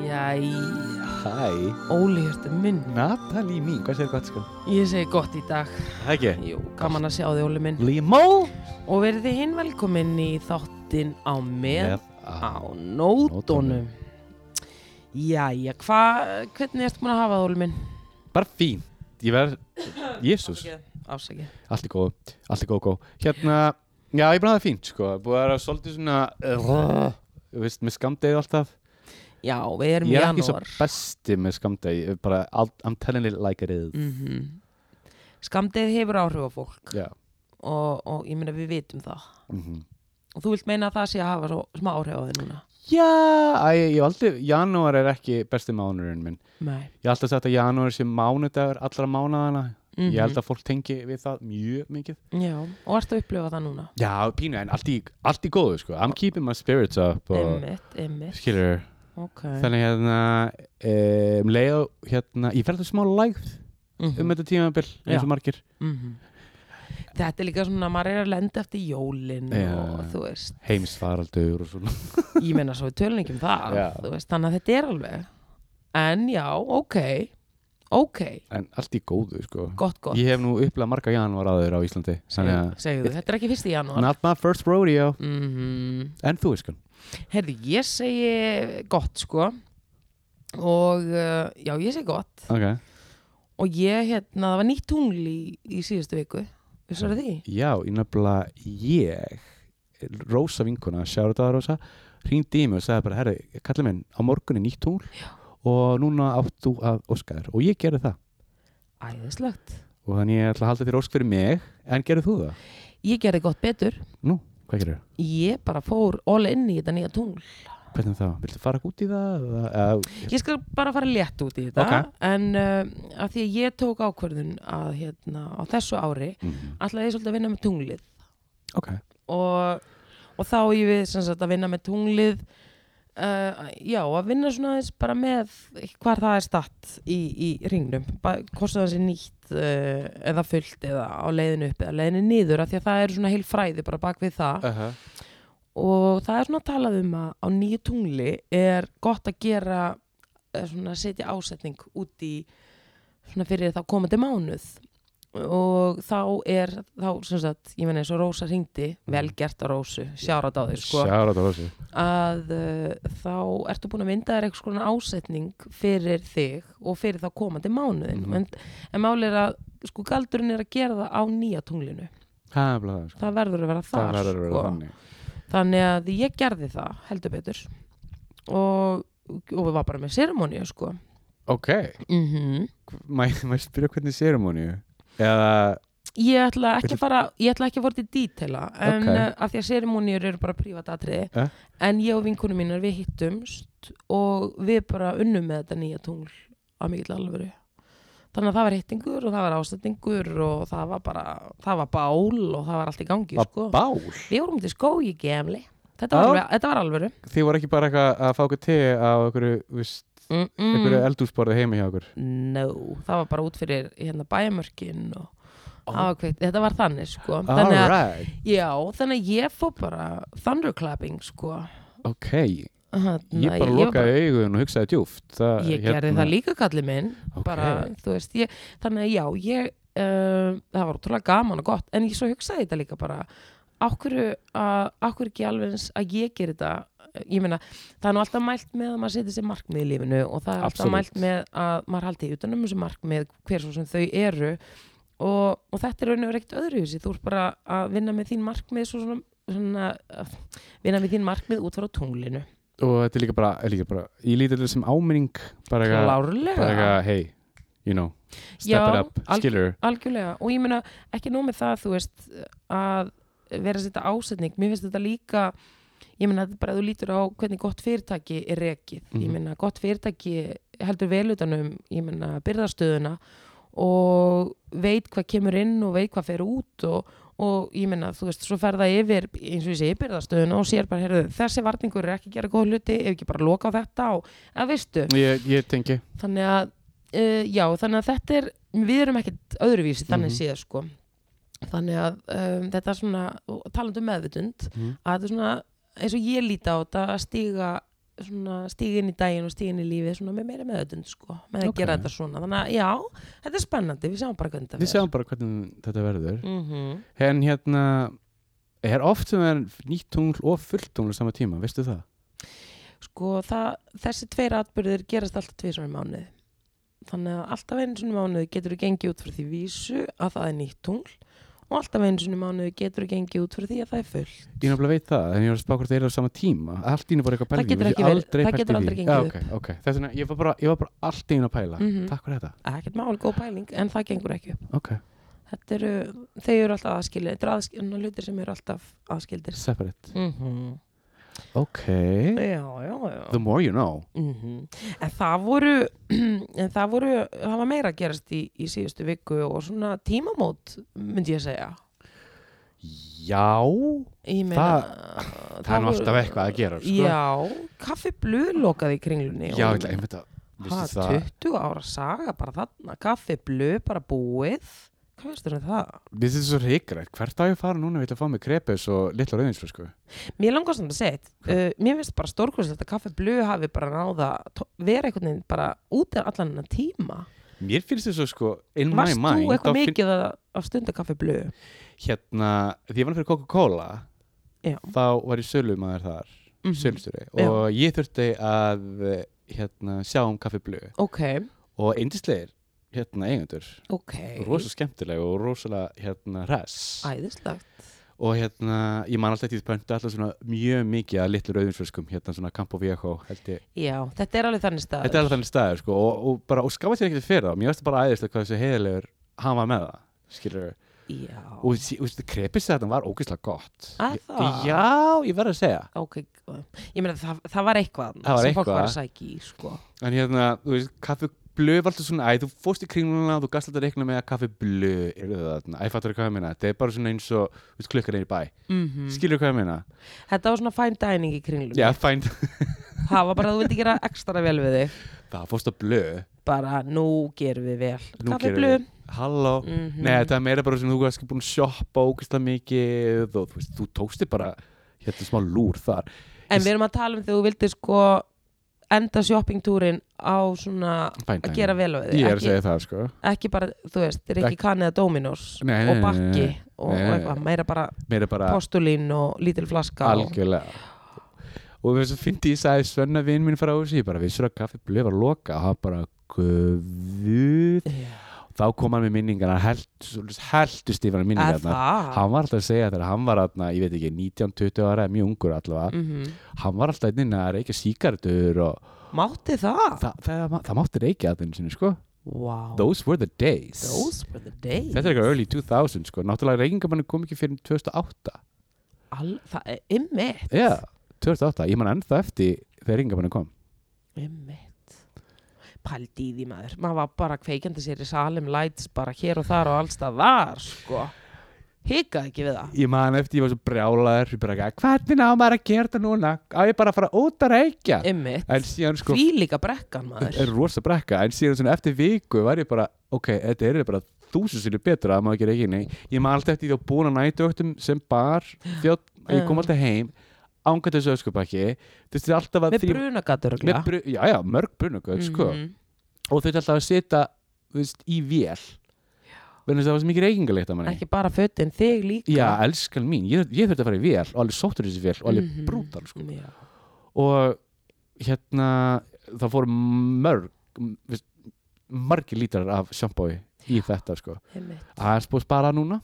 Jæja, Hæ, Óli hérstu minn Natalie mín, hvað sér gott sko? Ég segi gott í dag Ekki Jú, gaman að sjá þið Óli minn Límó Og verið þið hinn velkomin í þáttinn á með á Á nótunum Jæja, hvað, hvernig ertu búin að hafa það Óli minn? Bara fín Ég verð, jésús Ásækja Allt er góð, allt er góð góð Hérna, já ég er búin að það fínt sko Búið að vera svolítið svona uh, Þú veist, með skamdegi alltaf Já, við erum Ég í er ekki svo janúar besti með skamdegi Bara, I'll- I'm telling it like it is mm Skamdið hefur áhrif á fólk Já og, og ég meina við vitum það mhm. Og þú vilt meina að það sé að hafa svo smá áhrif á þið núna Já, æ, ég hef aldrei, janúar er ekki besti mánurinn minn Nei Ég hef alltaf sagt að janúar sé mánudagur allra mánaðana mm Ég held að fólk tengi við það mjög mikið Já, og ertu að upplifa það núna Já, pínu, en allt í, allt í góðu sko I'm keeping my spirits up og, Einmitt, einmitt, Skilur, ok þannig hérna um, leið og hérna, ég ferði smá lægð um þetta tímabil eins og margir Mhm. Þetta er líka svona, maður er að lenda eftir jólin Já. og þú veist, heimsfaraldur og svona ég meina svo við tölum ekki um það, Já. þú veist, þannig að þetta er alveg. En já, ok, ok, en allt í góðu sko gott, gott, Ég hef nú upplega marga janúar aður á Íslandi þannig segðu, að, segðu, þetta er ekki fyrst í janúar. not my first rodeo Mm en þú veist sko Herðu, ég segi gott, sko, og uh, já, ég segi gott, okay. og ég, hérna, það var nýtt tungl í, í síðustu viku, við svarðu því? Já, ég nefnilega ég Rósa vinkuna, sjáru það Rósa hringdi í mig og sagði bara, herri, kallar minn á morgun er nýtt tungl og núna átt þú að óska þér og ég gerði það Æðislegt. og þannig ég ætla að halda þér ósk fyrir mig en gerði þú það? Ég gerði gott betur, Nú, hvað gerir ég bara fór all in í þetta nýja tungl. Hvernig þá? Viltu fara út í það? eða- eða- Ég skal bara fara létt út í þetta Ok. en uh, að því að ég tók ákvörðun að hérna, á þessu ári Mhm. ætlaði ég svolítið að vinna með tunglið Ok, og, og þá á ég við sem sagt að vinna með tunglið uh, já, að vinna svona aðeins bara með hvar það er statt í, í ringnum, hvort sem það sé nýtt uh, eða fullt eða á leiðinu upp eða leiðinu niður, að því að það er svona heil fræði bara bak við það uh og það er svona talað um að á nýju tungli er gott að gera eh, svona setja ásetning út í svona fyrir þá komandi mánuð og þá er þá sem sagt, ég meina eins og Rósa ringdi Mhm. vel gert á Rósu, sjárat á því sko sjára það Rósa að uh, þá ertu búin að mynda þér eitthvað svona ásetning fyrir þig og fyrir þá komandi mánuðin Mhm. en, en máli er að sko galdurinn er að gera það á nýja tunglinu Það er bara það, sko. það verður að vera það þar verður að vera sko. þannig Þannig að ég gerði það heldur betur og, og við var bara með séramóníu sko Ok, mm maður mað spyrja hvernig sérumoníu eða, Ég ætla ekki að fara ég ætla ekki að fara til dítela en Ok. okay. af því að séramóníur eru bara privatatriði Eh? en ég og vinkunum mínar við hittumst og við bara unnum með þetta nýja tungl að mikill alvöru Þannig að það var hittingur og það var ástætningur og það var bara, það var bál og það var allt í gangi að sko. bál Við vorum til skói gemli. Þetta var, Já. alveg, þetta var alvöru. Þið voru ekki bara eitthvað að fá okkur te á einhverju, viðst, Mm -mm. einhverju eldúsborði heima hjá okkur no, það var bara út fyrir hérna bæjarmörkin og Ó. oh. ákveikt, þetta var þannig sko þannig að, Alright, já, þannig að ég fór bara thunderclapping sko ok Þannig, Ég bara lokaði augun og hugsaði djúft það, hérna, ég gerði það líka kalli minn Ok. bara, þú veist, ég, þannig að já ég, uh, það var útrúlega gaman og gott en ég svo hugsaði þetta líka bara á hverju, að- á hverju ekki alveg eins að ég geri þetta ég meina, það er nú alltaf mælt með að maður setja sér markmið í lífinu og það er alltaf Absolutt. mælt með að maður haldi utanum þessu markmið hver svo sem þau eru og, og þetta er raun og reykt öðruvísi þú ert bara að vinna með þín markmið svo svona, svona uh, vinna með þín markmið út frá tunglinu Og þetta er líka bara, er líka bara Ég líti þetta sem áminning bara eitthvað- klárlega bara eitthvað, hey, you know step Já, it up, alg- skilur algjörlega og ég meina ekki nóg með það þú veist að vera að setja ásetning mér finnst þetta líka ég meina þetta er bara að þú lítur á hvernig gott fyrirtæki er rekið, ég Mhm. meina gott fyrirtæki heldur vel utanum, ég meina byrðastöðuna og veit hvað kemur inn og veit hvað fer út og, og ég meina þú veist svo fer það yfir eins og ég sé byrðastöðuna og sér bara heyrðu, þessi varningur er ekki að gera góð hluti ef ekki bara loka á þetta og að veistu Ég, ég tengi eh, þannig að uh, já, þannig að þetta er við erum ekkert öðruvísi þannig Mhm. séð sko þannig að um, þetta er svona og talandi um meðvitund Mm. að þetta er svona eins og ég líti á þetta að stíga svona stíga inn í daginn og stíga inn í lífið svona með meira meðvitund sko með að Ok. gera þetta svona þannig að já, þetta er spennandi, við sjáum bara hvernig þetta Við sjáum bara hvernig þetta verður mm -hmm. En hérna er oft sem er nýtt tungl og fullt tungl á sama tíma, veistu það? sko það, þessi tveir atbyrðir gerast alltaf tvisvar í mánuði þannig að alltaf einu sinni í mánuði getur þú gengið út fyrir því vísu að það er nýtt tungl og alltaf einu sinni í mánuði getur þú gengið út fyrir því að það er full Ég náttúrulega veit það, en ég var að spá hvort það er á sama tíma Allt í einu bara eitthvað Það pælingi getur ekki verið- það getur aldrei gengið upp okay, okay. Þess vegna, ég var bara, ég var bara allt í einu að pæla Mhm. Takk fyrir þetta ekkert máli góð pæling en það gengur ekki upp Ok, þetta eru, þeir eru alltaf aðskildir þetta eru aðskildir, hlutir sem eru alltaf aðskildir separate mm -hmm. Ok, já, já, já the more you know Mhm. En það voru, en það voru, það var meira að gerast í, í síðustu viku og svona tímamót, myndi ég segja. Já, Ég meina, Það- það er nú alltaf eitthvað að gera, sko. Já, kaffi blöð lokaði í kringlunni. já, og- ég veit að Ha, Vistu það, 20 ára saga bara þarna, kaffi blöð bara búið. Hvað veistu um það? vistu þetta svo reykrætt Hvert á ég að fara núna, ég ætla að fá mig krepes og litla sko, rauðinsflösku Mér langar samt að segja eitt. Uh, mér finnst bara stórkvæmst að kaffi blöð hafi bara náða, vera einhvern veginn bara út af allan hennar tíma. Mér finnst þetta svo sko in my Varst mind þú þá eitthvað finn- mikið að, að stunda kaffi blöð? hérna, því ég vann fyrir Coca-Cola Já. þá var ég sölumæður þar Mm sölustjóri Já. og ég þurfti að hérna, sjá um kaffi blu Ok, og eindislegir hérna eigendur ok. rosa skemmtileg og rosalega hérna hress Æðislegt. og hérna ég man alltaf tíð pöntu alltaf svona mjög mikið að litlu rauðinsfjöskum hérna svona Campo Viejo held ég Já, þetta er alveg þannig stað. þetta er alveg þannig staður sko og, og bara og skafa sér ekkert fyrir það mér veist bara æðislega hvað þessi heiðilegur hann var með það skilur Já. og þessi- og þessi krepis þetta var ógeðslega gott Að Ég- það? já ég verð að segja Ok, ég meina það, það var eitthvað annað Það var sem fólk eitthvað. var að sækja í, sko. En hérna, þú veist, kaffi blöð var alltaf svona, æ, þú fórst í kringluna þú gast alltaf að reikna með að kaffi blöð eru þarna, æ, fattur hvað ég meina, þetta er bara svona eins og, þú veist, klukkar er í bæ, Mm Mm. skilur hvað ég meina Þetta var svona fine dining í kringlunni. Já, fænd, Það var bara að þú vildi gera ekstra vel við þig. það fórst á blöð Bara nú gerum við vel. Nú Kaffi gerum blöð. Halló, Mm Mm-hmm. nei, þetta er meira bara svona, þú veist, búin að shoppa ógæslega mikið og þú veist, þú tóksti bara hérna smá lúr þar En við erum að tala um þegar þú vildi sko enda shoppingtúrin á svona Fine að dining. gera vel við þig. Ég er að Ekki- segja það, sko Ekki bara, þú veist, það er ekki kannið að Dominos Nei, og nei, nei, nei, bakki nei. og, Nei, og nei, eitthvað. nei. Meira bara Meira bara postulín og lítil flaska. og- algjörlega og þess að fyndi ég sagði Svenna vinn minn frá þessu, ég bara vissur að kaffi blöð var að loka og hann bara guð Já. þá kom hann með minningarna heldur stífana Er minningarna það? hann var alltaf að segja þegar hann var atna, ég veit ekki 19-20 ára, mjög ungur allavega Mhm. hann var alltaf einnig að reykja síkardur og Mátti það? það, það, það mátti reykja að þenni sinni sko Wow. those were the days Those were the days. þetta er eitthvað early 2000 sko náttúrulega reykingamann kom ekki fyrir 2008 Al, það er ymmit. já, 2008, ég man ennþá eftir þegar reykingamann kom Ymmit. Paldi í því maður. Maður var bara kveikjandi sér í Salem Lights bara hér og þar og allstað þar, sko. Hikaði ekki við það. ég man eftir, ég var svo brjálaður ég bara ekki, hvernig á maður að gera þetta núna á ég bara að fara út að reykja Ymmit. en síðan sko, Því líka brekkan maður. er rosa brekka en síðan svona eftir viku var ég bara ok, þetta er bara þúsund sinni betra að maður gera ekki ney, ég man alltaf eftir því að búin að nætugöktum sem bar þjótt, ég kom Já. alltaf heim ángat þessu öskubakki þú veist, ég alltaf að Með Mm. Mhm. brunagatur með bru, já, já, mörg brunugöld, sko og þau alltaf að setja, þú veist, í vél vegna þess að það var svo mikið reykingaleikt að manni Ekki bara fötin þig líka. já, elskan mín, ég, ég þurfti að fara í vél og alveg sóttur í þessi vél og alveg Mhm. brútal sko. Já. og hérna það fór mörg m- veist, margir lítrar af sjampói í þetta sko Einmitt. það er búið að spara núna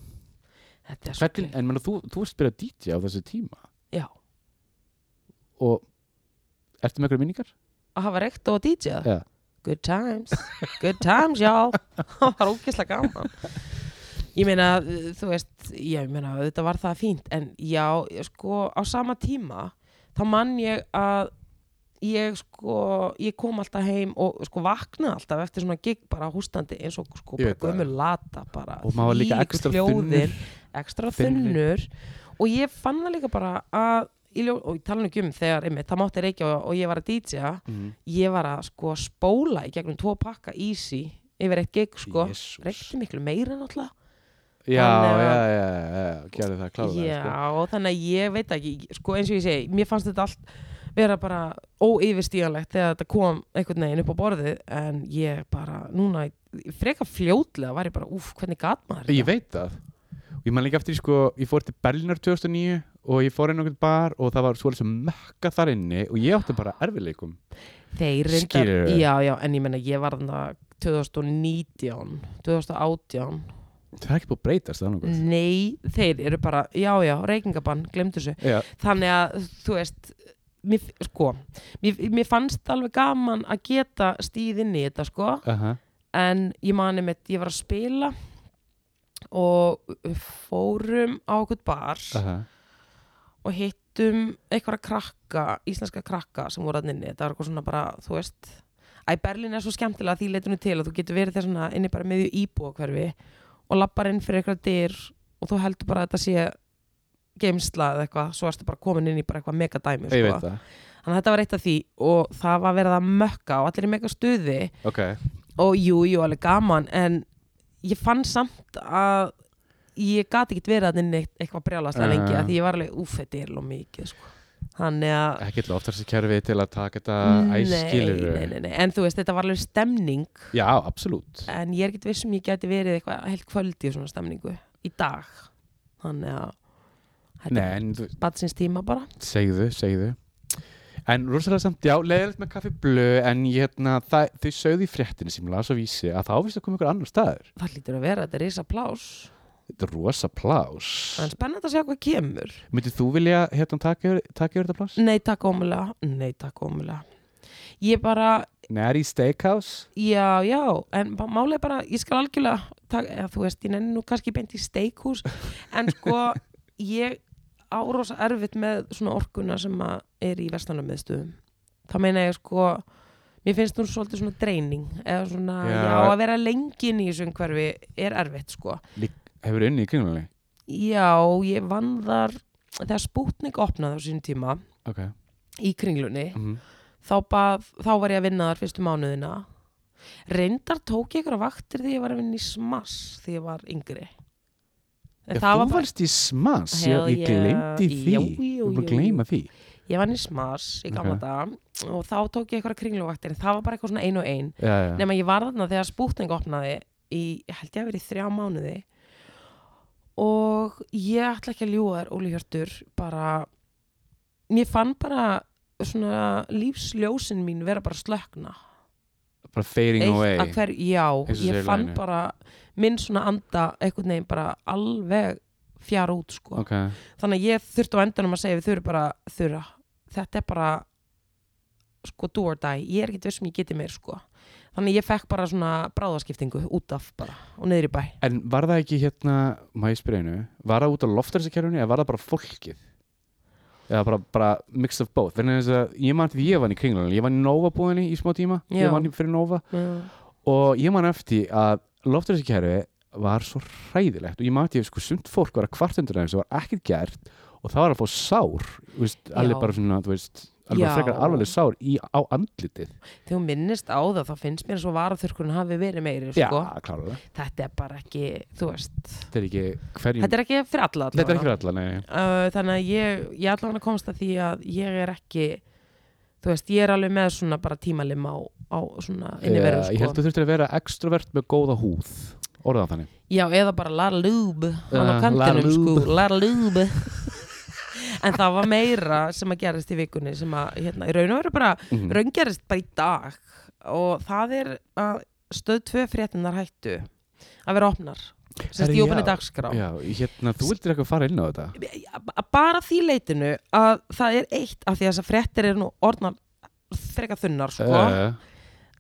Þetta er svo Hvernig, en menna, þú, þú varst byrjað að DJ á þessu tíma Já. og ertu með einhverja minningar? að hafa reykt og DJ Já. good times, good times y'all það var ógeðslega gaman ég meina, þú veist ég meina, þetta var það fínt en já, sko, á sama tíma þá mann ég að ég sko, ég kom alltaf heim og sko vaknaði alltaf eftir svona gig bara hústandi eins og sko bara Ég veit það. gömur lata bara og maður var líka þvílíkur ekstra hljóðin, þunnur ekstra Þynnri. þunnur og ég fann það líka bara að í ljó, og ég tala nú ekki um þegar einmitt, það mátti reykja og, og ég var að DJ-a mm. ég var að sko spóla í gegnum tvo pakka easy yfir eitt gig sko Jesus. reykti miklu meira náttúrulega já, Þannig að- já, já, já, já, gerði það klálega Já, sko. þannig að ég veit ekki, sko eins og ég segi, mér fannst þetta allt vera bara óyfirstíganlegt þegar þetta kom einhvern veginn upp á borðið en ég bara, núna, freka fljótlega var ég bara, úf, hvernig gat maður Ég veit það og ég man líka eftir, sko, ég fór til Berlínar 2009 og ég fór inn á einhvern bar og það var svolítið sem mekka þar inni og ég átti bara erfiðleikum Þeir reyndar, Skilurðu? já, já, en ég menna ég var þannig 2019, 2018 það er ekki búið að breytast það Mm. nokkuð Nei, þeir eru bara, já, já, reykingabann, glemdu þessu Já, Þannig að, þú veist, mér, sko, mér, mér fannst alveg gaman að geta stíð inn í þetta, sko aha, En ég mani mitt, ég var að spila og fórum á okkur bar aha og hittum einhverja krakka, íslenska krakka sem voru að inni, þetta var eitthvað svona bara, þú veist Æ, Berlín er svo skemmtilega að því leitinu til að þú getur verið þess svona inni bara miðju íbúa hverfi og lappar inn fyrir eitthvað dyr og þú heldur bara að þetta sé geimsla eða eitthvað, svo ertu bara komin inn í bara eitthvað megadæmi, Ég sko. veit það, Þannig að þetta var eitt af því og það var verið að mökka og allir í mega stuði ok og jú, jú, alveg gaman en ég fann samt að ég gat ekki verið að inn eitthvað brjálaslega Já. lengi að því ég var alveg, úf, þetta er alveg mikið sko. þannig að Ekki loftarsi kerfi til að taka þetta nei, æskilur nei, nei, nei. en þú veist, þetta var alveg stemning Já, absolutt en ég er ekki vissum ég geti verið eitthvað heilt kvöldi í svona stemningu í dag þannig að þetta Nei, er en þú badsins tíma bara segðu, segðu en rosalega samt, já, leiðilegt með kaffi blö en ég, hérna, það, þau sögðu í fréttinu sem ég las á vísi að þá finnst það koma ykkur annar staður það lítur að vera, þetta er risa plás þetta er rosa plás en spennandi að sjá hvað kemur myndið þú vilja, hérna, taka yfir, taka yfir þetta plás? nei, takk ómulega, nei, takk ómulega ég bara, Neri Steakhouse Já, já, en ba- málið er bara, ég skal algjörlega, tak, eða, þú veist, ég nenni nú kannski beint í steikhús, en sko, ég árosa erfitt með svona orkuna sem að er í vestanamiðstöðum. Þá meina ég sko, mér finnst hún svolítið svona dreining, eða svona, já, Já. að vera lengi inn í þessu umhverfi er erfitt, sko. hefur unni í kringlunni Já, ég vann þar, þegar spútning opnaði á sínum tíma ok í kringlunni, mm. þá, bað, þá var ég að vinna þar fyrstu mánuðina reyndar tók ég ykkur að vaktir því ég var að vinna í smass því ég var yngri En það Ef þú var bara, varst í smass, ég, Hell ég yeah. glemdi því Jú, ég jú, var bara jú, að gleyma því ég vann í smass í gamla Ok. dag og þá tók ég ykkur að kringluvaktir en það var bara eitthvað svona ein og ein já, já. nema ég var þarna þegar spútning opnaði í, ég held ég að verið í þrjá mánuði og ég ætla ekki að ljúga þér, Óli Hjörtur bara, mér fann bara svona lífsljósin mín vera bara að slökna bara fading away að hver, já, Eins og segir í ég fann laginu. bara minn svona anda einhvern veginn bara alveg fjara út sko. ok, þannig að ég þurfti á endanum að segja við þurfum bara þurra, þetta er bara sko do or die ég er ekki veist sem ég geti meir sko þannig að ég fekk bara svona bráðaskiptingu út af bara og niður í bæ en var það ekki hérna má ég spyrja einu, var það út á loftarsakerjunni eða var það bara fólkið eða bara, bara mix of both þannig að þess að ég mann því ég vann í kringlunni ég vann í Nova búðinni í smá tíma Já. ég vann í- fyrir Nova og ég mann eftir að loftarsakerju var svo hræðilegt og ég mann eftir sko sumt fólk var að kvartundur aðeins og var ekkert gert og það var að fá sár þú veist, Já. alveg bara svona þú veist, alveg bara Já. frekar alveg sár í, á andlitið þegar hún minnist á það þá finnst mér svo varaþurkurinn hafi verið meiri já, sko. klálega þetta er bara ekki, þú veist þetta er ekki hverjum þetta er ekki fyrir alla Þetta er allavega. ekki fyrir alla, nei. uh, þannig að ég, ég allavega komst að því að ég er ekki þú veist, ég er alveg með svona bara tímalim á, á svona inniveru Eh, sko. Ég held að þú þurftir að vera extrovert með góða húð Orðað þannig já, eða bara lara lúb hann á Ah, kantinum Lara Lube. sko, lara lúb en það var meira sem að gerist í vikunni sem að, hérna, í raun og veru bara mm. raungerist bara í dag og það er að stöð tvö fréttinnar hættu að vera opnar sem Herri, stjópan í já. dagskrá Já, hérna, þú vildir eitthvað fara inn á þetta B- bara því leitinu að það er eitt af því að þessar fréttir eru nú orðnar freka þunnar sko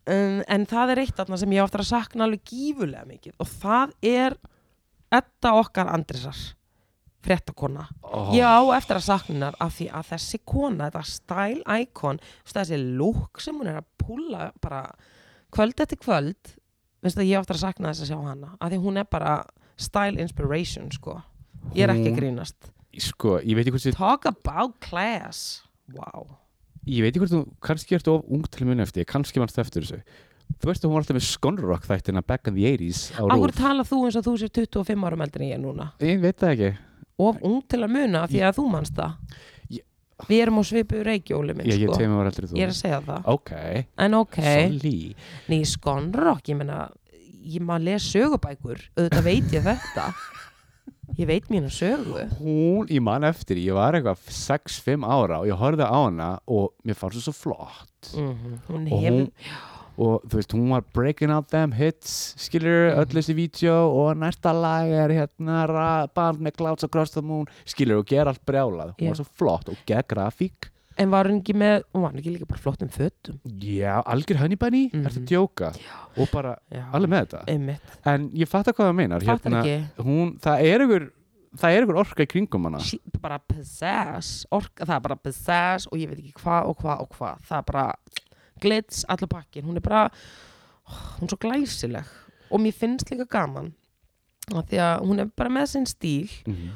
Eh, um, en það er eitt af það sem ég áttur að sakna alveg gífulega mikið og það er etta okkar Andrisar fréttakona ó, ég á eftir að sakna hennar af því að þessi kona, þetta style icon veist, þessi lúk sem hún er að púla bara kvöld eftir kvöld veist, að ég á eftir að sakna þess að sjá hana af því hún er bara style inspiration sko, ég er ekki Hún- að grínast Sko, ég veit ekki hvort, Talk about class Wow ég veit ekki hvort þú kannski ertu of ung til að muni eftir, kannski mannst eftir þessu Þú veist að hún var alltaf með Skonrock þættina Back in the 80s á Akkur Rúf tala þú eins og þú sér 25 árum eldri en ég núna Ég veit það ekki Of ung til að muna af því að þú manst það Ég- Við erum á svipu reykjóli minn Ég, ég sko tegum var aldrei þú Ég er að segja það Ok, En ok, Solí ný skonrokk Ég meina, ég maður les sögubækur Auðvitað veit ég þetta Ég veit mínu sögu Hún, ég man eftir, ég var eitthvað 6-5 ára og ég horfði á hana og mér fannst þú svo flott Mhm, Hún Og hefur hún- og þú veist, hún var breaking out them hits skilur, Mhm. öll þessi vídeo og næsta lag er hérna ra- band með clouds across the moon skilur, og gera allt brjálað, hún Já. var svo flott og geð grafík, En var hún ekki með, hún var ekki líka bara flottum fötum já, algjör hönnibæni mm Mhm. -hmm. ertu að djóka, og bara Já, alveg með Hérna- þetta, einmitt, en ég fattar hvað það meinar fattar ekki hún, það er ykkur það er ykkur orka í kringum hana She, bara possess, orka, það er bara possess og ég veit ekki hvað og hvað og hvað það er bara glitz, allur pakkin hún er bara, oh, hún er svo glæsileg og mér finnst líka gaman af því að hún er bara með sinn stíl mm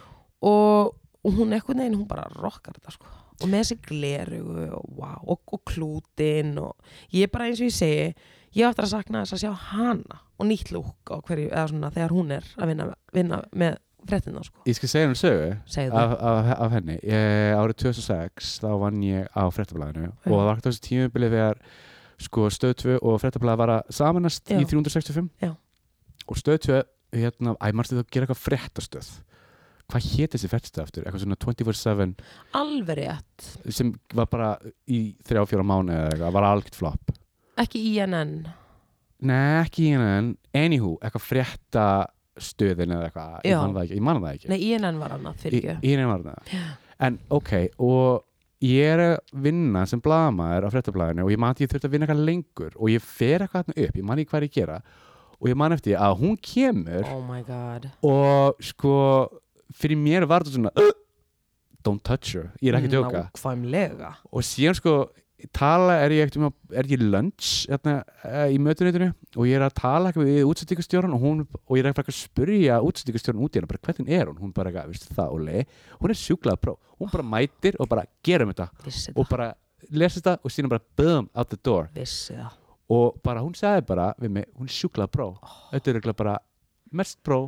og, og hún er eitthvað neginn, hún bara rockar þetta sko og með þessi glerugu og, wow, og, og klútin og ég er bara eins og ég segi ég á eftir að sakna þess að sjá hana og nýtt lúk á hverju, eða svona þegar hún er að vinna, vinna með fréttina sko ég skal segja hún sögu segðu það af, af, af henni ég, árið 2006 þá vann ég á frettablaðinu og það var ekkert á þessu tímubili þegar sko stöð 2 og frettablaði var að samanast Já. í 365 Já. og stöð 2 hérna, æmarstu það að gera eitthvað frettastöð hvað hétt þessi frettastöð aftur eitthvað svona 24-7 alveg rétt sem var bara í 3-4 mánu eða eitthvað, var algjört flop ekki E INN Nei, ekki hérna en anywho, eitthvað frettastöðin eða eitthvað, ég Já. man það ekki, ég man það ekki Nei, INN var annað fyrir Í- ekki í neina varna en ok, og ég er að vinna sem blaðamaður á fréttablaðinu og ég man að ég þurfti að vinna eitthvað lengur og ég fer eitthvað þarna upp, ég man ekki hvað er ég að gera og ég man eftir að hún kemur Oh my god og sko fyrir mér var þetta svona "Ugh, don't touch her, Mm, ég er ekki að djóka Nákvæmlega og síðan sko tala er ég ekkert um að er ég í lunch hérna, eh, í mötuneytinu og ég er að tala eitthvað við útsendingastjóran og, hún, og ég er eitthvað að spyrja útsendingastjóran út í hérna bara hvernig er hún, hún bara eitthvað, veistu það Óli hún er sjúklað pró, hún bara mætir og bara gerum þetta Vissi og það bara lesa þetta og síðan bara boom out the door Vissi það og bara hún sagði bara við mig, hún er sjúklað pró þetta er eitthvað bara mest pró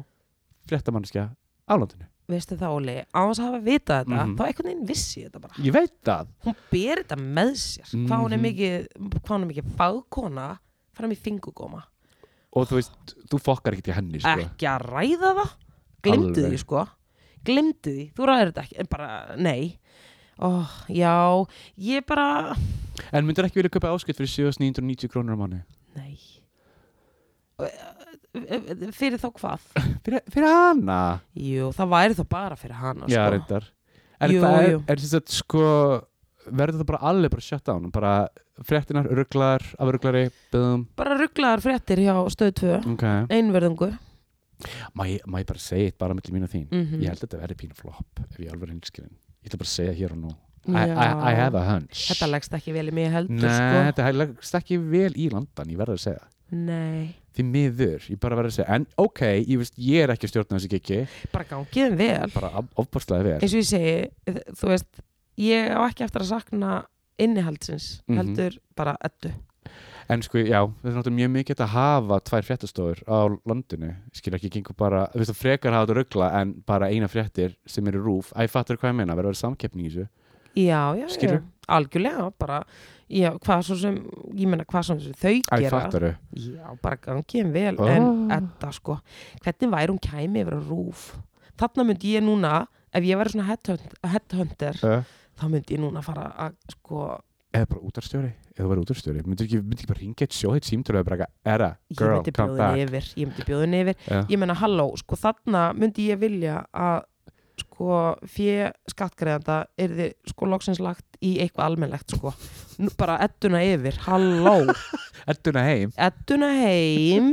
fréttamannskja á landinu Vissi það Óli Á þess að hafa vitað þetta Mhm. Þá einhvern veginn vissi ég þetta bara ég veit það Hún ber þetta með sér Hvað hún er Mhm. mikið Hvað hún er mikið fagkona Fram í fingugóma og þú veist, þú fokkar ekki til henni sko. Ekki að ræða það Glimtu Alveg. því sko Glimtu því Þú ræðir þetta ekki En bara, nei Ó, já Ég bara En myndir ekki vilja kaupa áskipt fyrir 7.990 krónur á mánu? Nei Fyrir þá hvað? Fyrir, fyrir hana? Jú, það væri þá bara fyrir hana Já, sko. reyndar. En Jú, það er, jú. er þess að sko, verður það bara alveg bara shut down? Bara fréttinar, rugglar, afrugglari, byggðum, Bara rugglaðar fréttir hjá stöð 2 ok. Einverðungu Má ég, má ég bara segja eitt bara mellir mín og þín? mm Ég held að þetta verði pínu flop ef ég alveg hinskilin. Ég ætla bara að segja hér og nú. I, I, I have Þetta a hunch. leggst ekki vel í mig heldur Nei, sko. þetta leggst ekki vel í landan, ég verður að segja. það. Nei Því miður, ég bara verður að segja. En ok, ég veist, ég er ekki að stjórna þessu kikki. Bara gangið þeim vel Bara ofbúrslega vel. Eins og ég segi, þ- þú veist Ég á ekki eftir að sakna innihaldsins Mhm. Heldur bara eddu En sko, já, þetta er náttúrulega mjög mikið að hafa tvær fréttastofur á landinu skilja ekki, gengur bara, þú veist að frekar hafa þetta ruggla en bara eina fréttir sem eru rúf Æ, fattur hvað ég meina, verður að vera samkeppni í þessu Já, já, já Skilurðu? Algjörlega, bara já, Hvað svo sem, ég meina hvað svo sem þau Æ, gera fattur Já, bara gangi henn vel Ah. en þetta sko, hvernig væri hún kæmi yfir að rúf? Þarna myndi ég núna ef ég væri svona headhunt- headhunter þau þá myndi ég núna fara að sko Eða bara útarstjóri, eða þú verður útarstjóri Myndir ekki, myndir ekki bara ringja eitt sjóðið símtur eða bara eitthvað, erra, ég girl, myndi come bjóðin back yfir ég myndi bjóðin yfir, Já. ég menna halló sko þarna myndi ég vilja að sko fjö skattgreðanda er þið sko loksins lagt í eitthvað almennlegt sko, Nú, bara edduna yfir, halló Elduna heim edduna heim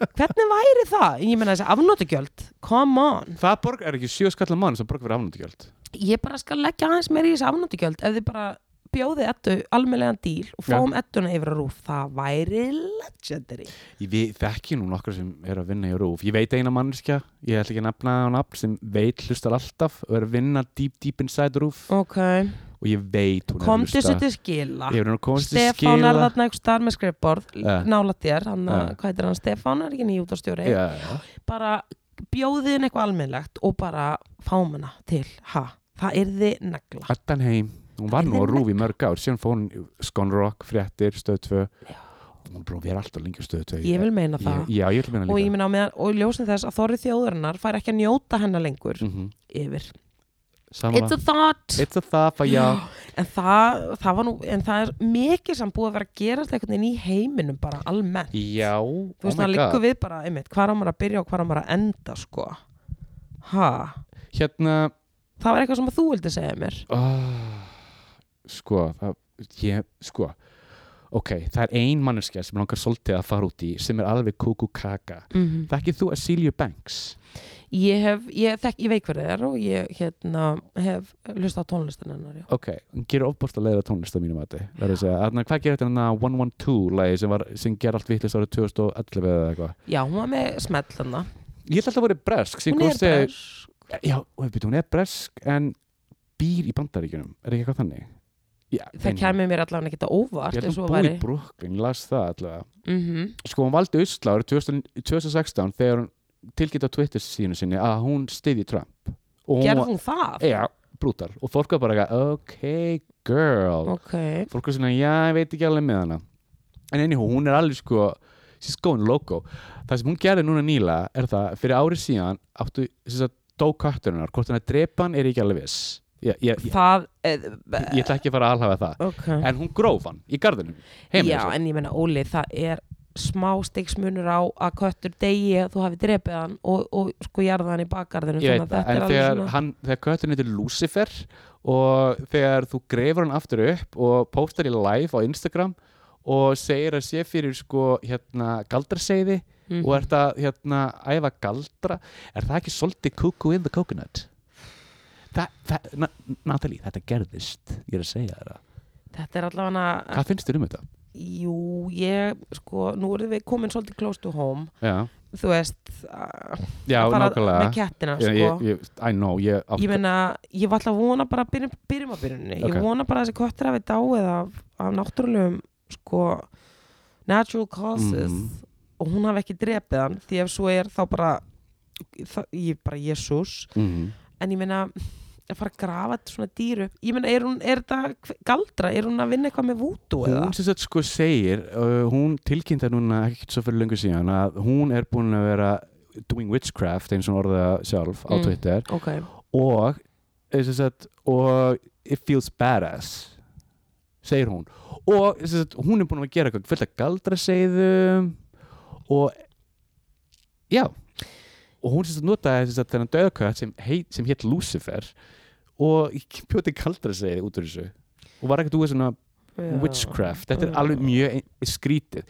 hvernig væri það? Ég menna þessi afnótugjöld, come on Það borg er ekki sjö skallar mann sem borg verið afnöndugjöld ég bara skal leggja aðeins meir í þessi afnáttugjald ef þið bara bjóði ettu almennlegan díl og Já. fáum ettuna yfir að rúf það væri legendary Ég við, þekki nú nokkra sem er að vinna í rúf. Ég veit eina mannskja, ég ætla ekki að nefna á nafn sem veit hlustar alltaf og er að vinna deep deep inside rúf ok, og ég veit hún kom til er að sér hlusta. til skila Ég er að komast til Stefán er skila. þarna einhvers starf með skrifborð Ja. nála þér, hann, eh, Ja. hvað heitir hann Stefán er ekki nýjútastjóri Já, já. bara bjóðiðin eitthvað almennlegt og bara fáum hana til ha, það yrði negla Eddan heim, hún var nú á rúf í mörg ár síðan fór hún Skonrock, Fréttir, Stöð 2 hún er búin að vera alltaf lengi á Stöð 2 ég vil meina það ég, Já, ég vil meina og ég líka minna á meðan, og ljósin þess að þorri þjóðurinnar fær ekki að njóta hennar lengur Mhm. yfir, it's Sammála. a thought It's a thapa, já en það, það var nú, en það er mikið sem búið að vera að gerast einhvern veginn í heiminum bara almennt, Já, oh þú veist my það god liggur við bara einmitt, hvar á maður að byrja og hvar á maður að enda sko, ha Hérna það var eitthvað sem þú vildi segja mér oh, Sko, það, ég, sko Ok, það er ein manneskja sem langar svolítið að fara út í sem er alveg kúkú kaka Þekkið þú Asilju Banks? ég hef, ég þekk, ég veik fyrir þér og ég hérna hef hlustað á tónlistin hennar já. ok, hún gerir ofbúrslega leiða tónlist á mínu mati, verður að segja, þannig hvað gerir þetta hann að 112 lagi sem, var- sem ger allt vittlist árið 2011 eða eitthvað já, hún var með smell hennar ég held alltaf að voru bresk sem hún er komst ég- brösk já, hún er- hún er bresk en býr í bandaríkjunum, er ekki eitthvað þannig já, það kæmi mér allavega ekki þetta óvart ég held ef að svo hún búi væri. í Brooklyn, ég las það allavega Mhm. sko hún valdi usla árið 2000 2016 þegar hún tilgætt á Twitter sínu sinni að hún styði Trump og Gerði var- hún það? já, brútal, og fólk var bara eitthvað, ok girl Ok, fólk er svona, já, ég veit ekki alveg með hana en einhjú, hún er alveg sko she's going loco það sem hún gerði núna nýla er það, fyrir árið síðan áttu, þess að dó kötturinnar hvort hann að drepa hann er ég ekki alveg viss ég, ég, ég, það eh, ég ætla ekki að fara að alhafa það Ok, en hún gróf hann í gardinum heima já, hjá sér. en ég menna Óli, það er smá stigsmunur á að köttur degi að þú hafi drepið hann og, og sko jarða hann í bakgarðinu ég veit það, en þegar, hann, þegar kötturinn heitir Lucifer og þegar þú grefur hann aftur upp og póstar í live á Instagram og segir að sé fyrir sko hérna galdraseiði mm. og ert að hérna, æfa galdra er það ekki svolítið cuckoo in the coconut Þa, það, na, Natalie, þetta gerðist ég er að segja þér það Þetta er allavega hana, hvað finnst þér um þetta? jú, ég, sko, nú erum við komin svolítið close to home já, Þú veist, að já að fara með nákvæmlega kettina, sko Ég- ég- ég- I know ég, Ég meina, ég var alltaf að vona bara að byrjum, byrjum á byrjunni. Ok. Ég vona bara að þessi köttur hafi dáið af, af náttúrulegum, sko, natural causes Mhm. og hún hafi ekki drepið hann því ef svo er þá bara, það, ég er bara Jesus. mm, En ég meina, að fara að grafa þetta svona dýru. Ég meina, er hún, er þetta hve- galdra? Er hún að vinna eitthvað með vútu eða? hún sem sagt sko segir uh, hún tilkynnta núna ekkert svo fyrir löngu síðan að hún er búin að vera doing witchcraft eins og hún orðaði það sjálf á Mm. Twitter Ok, og eh, sem sagt, og it feels badass segir hún og sem sagt, hún er búin að gera eitthvað fullt af galdraseiðum og já og hún sem sagt, notaði sem sagt, þennan döðkött sem, heit- sem hétt Lucifer og pjóti galdraseiði út úr þessu og var ekkert úr svona já. witchcraft, þetta er Já. alveg mjög ein- skrítið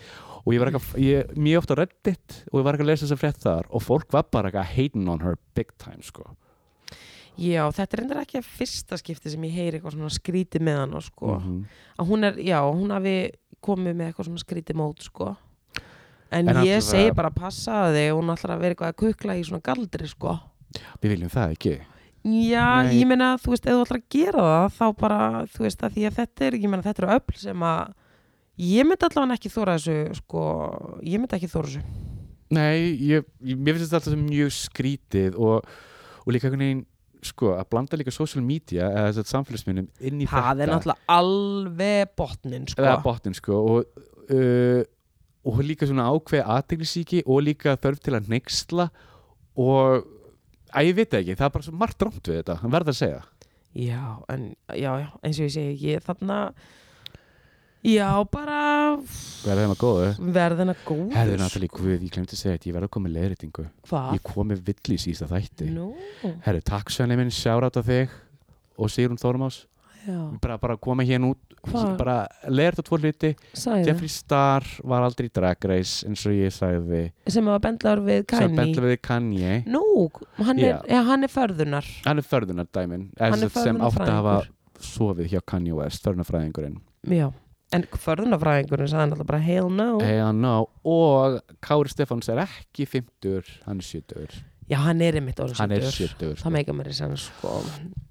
og ég var eitthvað, ég, mjög ofta reddit og ég var eitthvað að lesa þess að frétt þar og fólk var bara eitthvað hating on her big time sko Já, þetta er endur ekki að fyrsta skipti sem ég heyri eitthvað svona skrítið með hann sko. Mhm. að hún er, já, hún hafi komið með eitthvað svona skrítið mót, sko en, En ég ætlar segi að- bara að passa þig hún ætlar að vera eitthvað að kukla í svona galdri, sko Við viljum það ekki. Já, Nei. ég meina, þú veist, ef þú ætlar að gera það þá bara, þú veist, að því að þetta er ég meina, þetta eru öll sem að ég myndi allavega ekki þóra þessu, sko ég myndi ekki þóra þessu Nei, ég, ég, mér finnst þetta alltaf sem mjög skrítið og, og líka einhvern veginn, sko, að blanda líka social media eða þess að samfélagsmiðnum inn í Það er þetta. náttúrulega alveg botnin, sko eða botnin, sko, og, uh, og líka svona ákveð aðteglisíki og líka þörf til að neyksla og, að ég veit það ekki, það er bara svo margt rámt við þetta, hann verður að segja. Já, en, já, já, eins og ég segi ég þarna Já, bara Verður þeim að góðu. verðina góður Herðu náttúrulega, guð, ég glemt að segja þetta, ég verður að koma með leiðréttingu. Hvað? Ég kom með villi í sísta þætti. Ah. Nú, Herðu, takk svenni minn, sjárat á þig og Sigrun Þormás. já, bara, bara koma hérna út Hvað? bara leir þetta tvo hluti sæði Jeffrey Star var aldrei í Drag Race eins og ég sagði sem hafa bendlar við sem Kanye bendla við Kanye Nú, hann er, Já. ja, hann er förðunar hann er förðunar dæmin Hann er sem átt að hafa förðunarfræðingur sofið hjá Kanye West, förnafræðingurinn já en förðunafræðingurinn sagði náttúrulega bara hell no eða ná, og Kári Stefáns er ekki 50, hann er 70 já hann er einmitt orðin hann er 70 70 sko. það meika mér í senn sko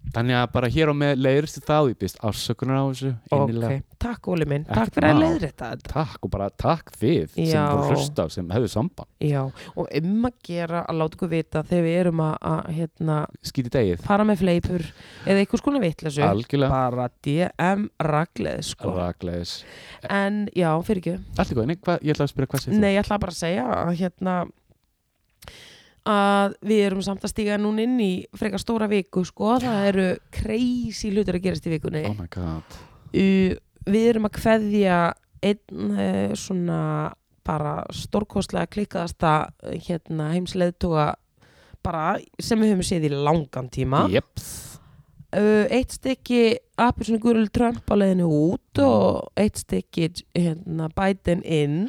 þannig að bara hér og með leiðurstu þá ég býst afsökunar á þessu innilega. ok, takk Óli minn, Ekkert takk fyrir að mál. leiðrétta þetta takk og bara takk þið sem Já. voru að hlusta sem hefðu samband, já, og um að gera að láta ykkur vita þegar við erum að, að hérna, skýti degið fara með fleipur eða einhvers konar vitleysu algjörlega bara DM ragleð sko. ragleis, en já, fyrir ekki allt í góðinni hvað- ég ætla að spyrja hvað sér þú Nei, ég ætla bara að segja að hérna að við erum samt að stíga núna inn í frekar stóra viku sko, það eru crazy hlutur að gerast í vikunni oh my god, U- Við erum að kveðja einn eh, svona bara stórkostlega klikkaðasta eh, hérna, heimsleðtuga bara sem við höfum séð í langan tíma jeps uh, eitt stykki Appisun Gurul Trump á leiðinu út og eitt stykki hérna, Biden inn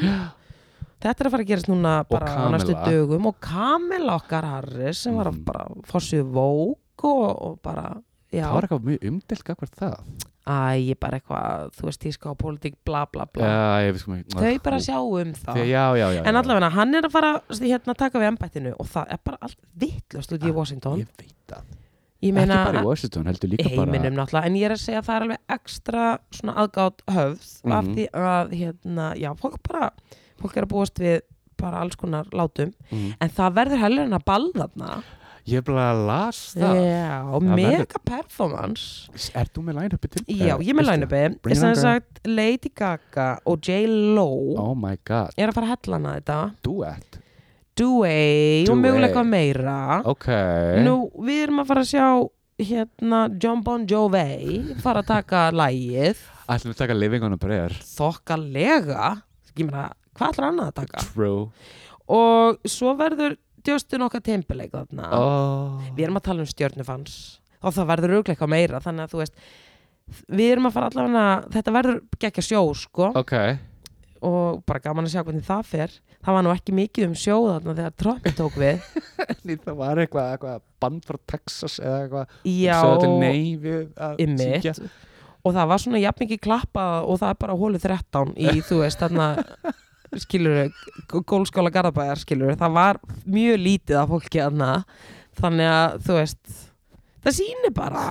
þetta er að fara að gerast núna bara á Kamala. næstu dögum og Kamila okkar Harris sem var að Mhm. bara fossið vók og, og bara já, það var eitthvað mjög umdelt hvað það æ, ég bara eitthvað þú veist, tíska á pólitík, bla bla bla Já, ég sko veist hvað mikið- þau bara sjá um það Þegar- já, já, já, en já. allavega hann er að fara hérna, taka við embættinu og það er bara allt vittlust út í Ah, Washington ég veit það, ég ekki meina bara í Washington heldur líka í bara heiminum náttúrulega, en ég er að segja að það er alveg ekstra svona aðgátt höfð Mhm. af því að, hérna, já, fólk bara fólk er að búast við bara alls konar látum, Mhm. en það verður heller en að ball þarna, ég bara las það já, og Það mega verður- performance er þú með line-upi til? já, ég er með veistu? lænubi, Bring it sem on, girl. sagt Lady Gaga og J-Lo oh my god, er að fara að hellana þetta duet Dewey og Dewey. möguleika meira ok, nú, við erum að fara að sjá hérna, John Bon Jovi fara að taka lægið ætlum við að taka living on a prayer þokkalega ég meina, hvað ætlar annað að taka true og svo verður Justin okkar Timberlake þarna oh. við erum að tala um stjörnufans og það verður auðvitað eitthvað meira þannig að þú veist við erum að fara allavega þetta verður gekkja sjó sko ok, og bara gaman að sjá hvernig það fer það var nú ekki mikið um sjó þarna þegar Trump tók við það var eitthvað, eitthvað band frá Texas eða eitthvað já Sögðu til nei við að Einmitt. syngja. og það var svona jafn mikið klappa og það er bara á hólu 13 í þú veist þarna skilur gólskóla garðabæjar skilur það var mjög lítið af fólki þarna þannig að þú veist það sýnir bara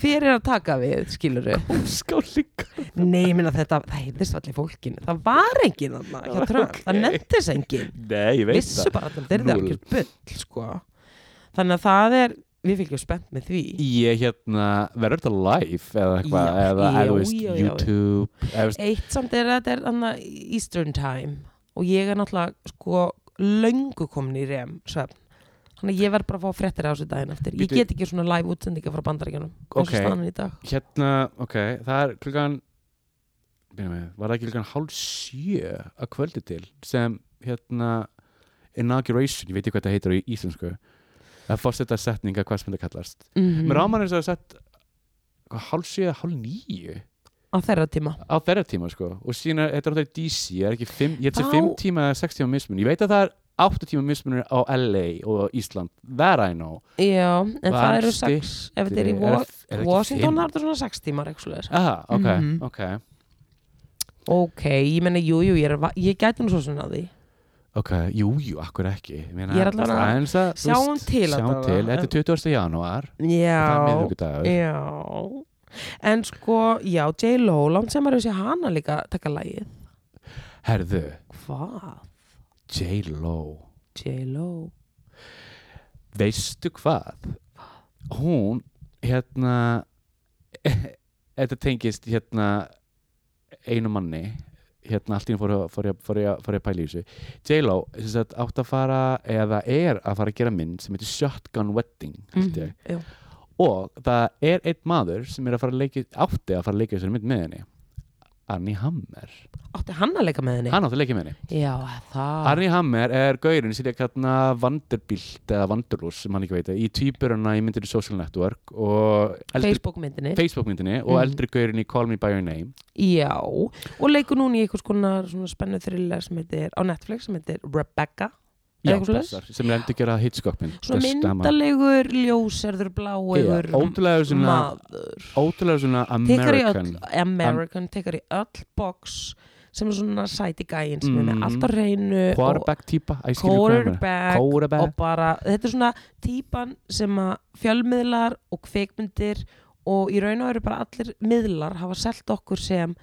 hver er að taka við skilur Skálík nei ég minna þetta það heyrðist allir fólkinu það var engin þarna hjá Trump það Ok. nefndis engin Nei, ég veit vissu bara að þetta er Núll. algjör bull sko þannig að það er við fylgjum spennt með því það Ég hérna, verður þetta live eða eitthvað, Já, eða já, eða, þú veist, já, já. YouTube eða, þú veist, Eitt samt er að þetta er anna, Eastern Time og ég er náttúrulega sko löngu komin í rem svefn. Þannig að ég verð bara að fá fréttir á þessu daginn eftir. Ég Bíddu. get ekki svona live útsendinga frá bandaríkjunum eins og Ok. staðan er í dag. Hérna, ok, það er klukkan byrjum við, var það ekki klukkan hálf sjö að kvöldi til sem hérna inauguration, ég veit ekki hvað þetta heitir á íslensku það fórst þetta setninga hvað sem þetta kallast Mm Mér ámann er þess að sett hvað, hálf sjö, eða hálf níu Á þeirra tíma. á þeirra tíma sko og síðan er þetta er alltaf í DC ég er ekki fimm, ég Á- held sér fimm tíma eða sex tíma mismun ég veit að það er átta tíma mismunur á LA og á Ísland, that I know Já, en það Var eru sex, ef þetta er í Wa- það ekki Washington, fimm? það er þetta svona sex tímar, ekki svo ah, ok, Mhm. ok, Ok, ég menna, jú, jú, ég, er, va- ég gæti nú svo svona að því. ok jú, jú, akkur ekki meina, Ég er allavega- aðeins að þú Sjáum veist, til sjáum allavega, til, en- þetta er 20. janúar það er Já, miðvíkudagur já. En sko, já, J-Lo, langt sem að þessi hana líka taka lagið. herðu, Hvað? J-Lo J-Lo. veistu hvað hún hérna þetta tengist hérna einu manni hérna allt í hún fór, ég- fór, ég- fór, ég- fór ég að pæla í þessu J-Lo sem sagt, átt að fara eða er að fara að gera mynd sem heitir Shotgun Wedding mm Mhm, já. og það er einn maður sem er að fara að leika átti að fara að leika þessari mynd með henni Arnie Hammer Átti hann að leika með henni? hann átti að leika með henni Já, það. Arni Hammer er gaurin sem leik hérna Vanderbilt eða Vanderlús sem hann ekki veit í týpurana í myndinu Social Network og eldri, Facebook myndinni. Facebook myndinni og Mhm. eldri gaurin í Call Me By Your Name Já, og leikur núna í einhvers konar svona spennu thriller sem heitir, á Netflix sem heitir Rebecca. Eða Já, eitthvað svoleiðis? blessar, sem lendur gera hitskokkmynd Svona myndalegur, ljóserður, bláegur Ótrúlega svona maður Ótrúlega svona Tekur í öll, American American, tekur í öll box sem er svona sæti gæinn sem er með Mhm. allt á hreinu og Quarterback típa æ, ég skil hvað ég meina. quarterback og Quarterback bara, þetta er svona típan sem að fjölmiðlar og kveikmyndir og í raun og eru bara allir miðlar hafa selt okkur sem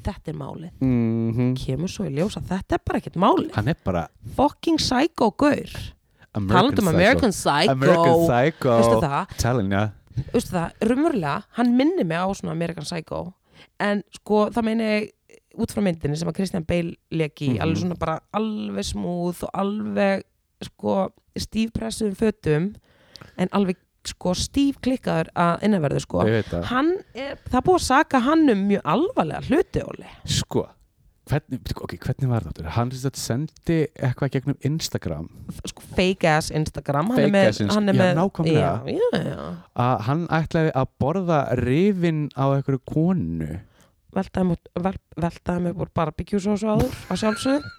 þetta er málið, Mhm. kemur svo í ljós að þetta er bara ekkert málið, Hann er bara fucking psycho gaur, talandum Psycho. um American Psycho American Psycho veistu það, Telling ya veistu það, raunverulega hann minni mig á svona American Psycho en sko, það meina ég út frá myndinni sem að Christian Bale leki mm Mhm. alveg svona bara alveg smúð og alveg sko stífpressuðum fötum en alveg sko stífklikkaður að innanverðu sko Ég veit það hann er, það er búið að saka hann um mjög alvarlega hluti óli Sko Hvernig, bíddu, ok, hvernig var þetta? Hann sem sagt sendi eitthvað gegnum Instagram sko fake ass Instagram hann er Fake með, ass Inst- hann er já, með, nákvæmlega. já, já, já. að hann ætlaði að borða rifin á einhverju konu veltaði mig- vel- veltaði mig úr barbecue svo svo áður að sjálfsögðu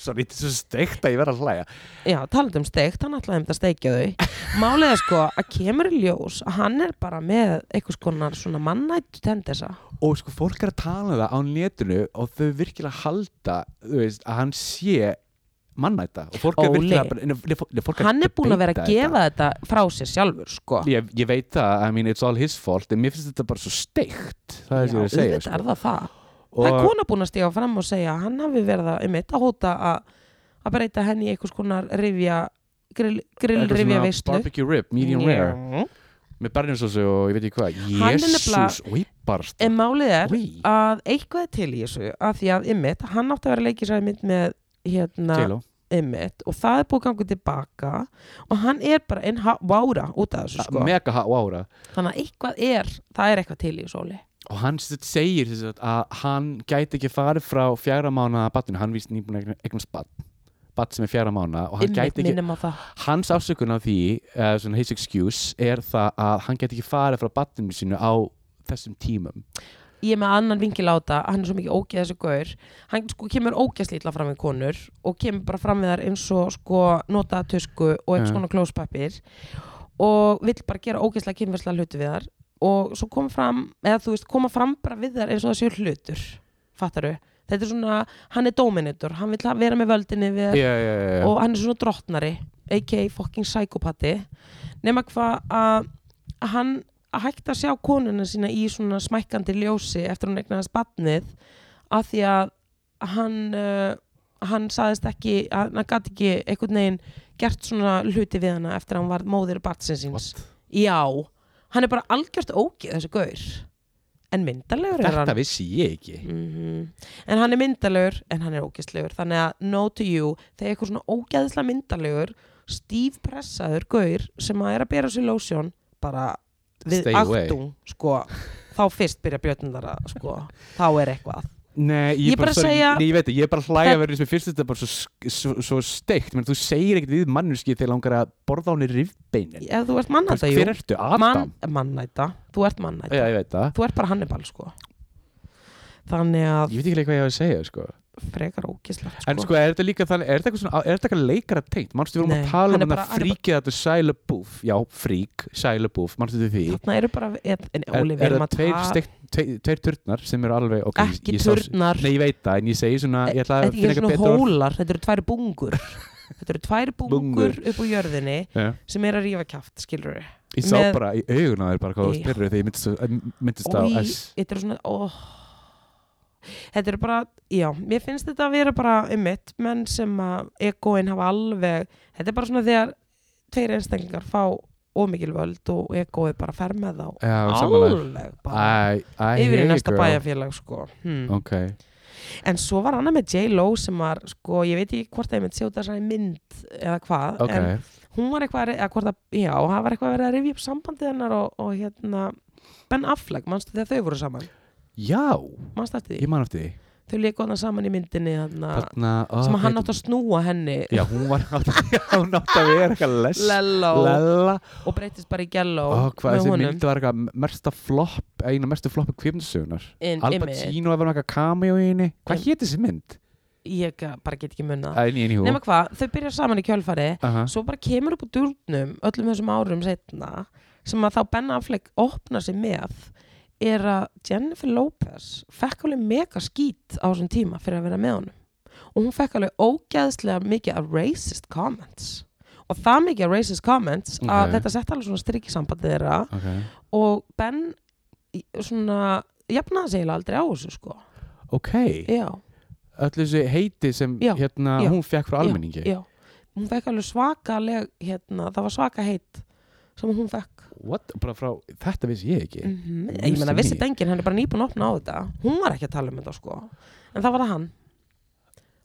Sorry, þetta er svo steikt að ég verð að hlæja Já, talandi um steikt, hann ætlaði um þetta að steikja þau Málið er sko að kemur í ljós að hann er bara með einhvers konar svona mannættu tendesa Og sko, fólk er að tala um það á netinu og þau virkilega halda þú veist, að hann sé mannæta og fólk er Óli. virkilega bara, nei, nei, fólk- nei, fólk Hann er búin að vera debata að gefa þetta frá sér sjálfur sko þetta. ég, ég veit það, I mean, it's all his fault en mér finnst þetta bara svo steikt það er Já, það að segja sko. auðvitað er það það og, Það er kona búin að stíga fram og segja að hann hafi verið að, einmitt, að hóta að, að breyta henni í einhvers konar rifja grill, eitthvað svona grillrifja veistlu barbecue rib, medium rare með bernjarsósu og ég veit ekki hvað Hann er nefnilega- Jésús, og ég barst En málið er Oj, að eitthvað er til í þessu að því að einmitt, hann átti að vera leikisæði mitt með hérna, J-Lo. einmitt og það er búið að ganga tilbaka og hann er bara einn ha- vára út af þessu sko mega há ára þannig að eitthvað er, það er eitthvað til í sóli og hann sem sagt segir sem sagt, að hann gæti ekki farið frá fjara mánu að batinu, hann víst nýbúin að eignast bat bat sem er fjara mánu og hann einmitt gæti ekki, minnum á það hans ásökun á því uh, svona his excuse er það að hann gæti ekki farið frá batinu sínu á þessum tímum ég er með annan vingil á þetta, hann er svo mikið ógeð þessu gaur, hann sko kemur ógeðslítla fram við konur og kemur bara fram við þar eins og sko notaða tusku og einhvers Ja. konar klóspapir og vill bara gera ógeðslega kynversla hluti við þar og svo kom fram, eða þú veist, koma fram bara við þar eins og það séu hlutur fattaru, þetta er svona, hann er dominator hann vill vera með völdinni við þær yeah, yeah, yeah. og hann er svona drottnari a.k.a. fucking psykopati nema hvað að að hann að hægt að sjá konuna sína í svona smækkandi ljósi eftir hún eignast batnið af því að hann uh, hann saðist ekki, hann gæti ekki einhvern veginn gert svona hluti við hana eftir að hann var móðir batsins síns What? já, hann er bara algjört ógið þessu gaur en myndalegur er hann þetta vissi ég ekki -hmm. En hann er myndalegur en hann er ógæstlegur þannig að no to you þegar eitthvað svona ógæðslega myndalegur stífpressaður gaur sem að er að bera sér lósjón bara við Stay away. aktung sko, þá fyrst byrja bjötnundara sko, þá er eitthvað Nei, ég, Ég bara sorry, segja- nei, ég veit það, ég er bara að hlæja verið sem fyrst þetta er bara svo, svo, svo steikt menn þú segir ekkert við mannuski þegar langar að borða á henni rifbeinin ef þú ert mannæta, jú hver ertu? Adam? Man, mannæta, þú ert mannæta Já, ég veit það þú ert bara Hannibal sko þannig að Ég veit ekki leik hvað ég hafa að segja sko. frekar ógæstlegt En sko, er þetta líka þannig, er þetta eitthvað, svona, er þetta eitthvað leikara tengt? Manstu við vorum Nei, að tala hann er um bara- þetta hann er fríkið þetta Shia LaBeouf Já, frík, Shia LaBeouf, manstu við því? þarna eru bara en, en Er, Óli, við er erum það að tveir, ta- steikt, tveir, tveir turnar sem eru alveg ok, ég- ekki ég sá- turnar Nei, ég veit það, en ég segi svona Ég ætla að Þetta finna er ekki eitthvað svona betur orð. hólar, þetta eru tvær bungur Þetta eru tvær bungur, Bungur. upp á jörðinni Já. sem er að rífa kjaft, skilur við Ég sá Með- bara í augun á þér bara hvað það Já. spyrir þegar ég myndist, á- myndist á S Þetta eru svona oh. Þetta eru bara, já, mér finnst þetta að vera bara um mitt, menn sem að egoin hafa alveg, þetta er bara svona þegar tveir einstaklingar fá ómikil völd og egoið bara fer með þá Já, samanlega alveg bara Æ, æ, yfir í hey, næsta girl. bæjarfélag sko hmm. Ok, En svo var annað með J-Lo sem var, sko, ég veit ekki hvort það er með sjóta þessari mynd eða hvað, ok en hún var eitthvað, að- eða hvort að, já, það var eitthvað að vera að rifja upp sambandið hennar og, og hérna, Ben Affleck, manstu þegar þau voru saman, Já, manstu eftir því, ég man eftir því þau leikur þarna saman í myndinni, þarna, Þarna, ó, Ah. sem að hann heitir- átt að snúa henni, Já, hún var nátt, já, hún átt að vera eitthvað les Lello, Lella og breytist bara í Gello Ó, Ah, hvað með þessi honum, mynd var eitthvað mesta flopp eina mestu floppu kvipnsugunar inn, Al Pacino var eitthvað cameo í henni Hvað Im- hétt þessi mynd? ég ga- bara get ekki munna en anywho Ah. nema hvað, þau byrja saman í kjölfari Aha. svo bara kemur upp úr durnum öllum þessum árum setna sem að þá Ben Affleck opna sig með er að Jennifer Lopez fekk alveg mega skít á þessum tíma fyrir að vera með honum og hún fekk alveg ógeðslega mikið af racist comments og það mikið af racist comments Ok. að þetta sett alveg svona strikkisambandi þeirra ok, og Ben í- svona jafnaði sig eiginlega aldrei á þessu sko ok, já, öll þessi heiti sem Já, hérna, já, hún fekk frá almenningi já hún fekk alveg svakaleg hérna, það var svaka heit sem hún fekk What? bara frá, þetta vissi ég ekki Mhm, Ég Ég vissi meina, ekki. vissi þetta enginn, hann er bara nýbúin að opna á þetta Hún var ekki að tala um þetta sko En það var það hann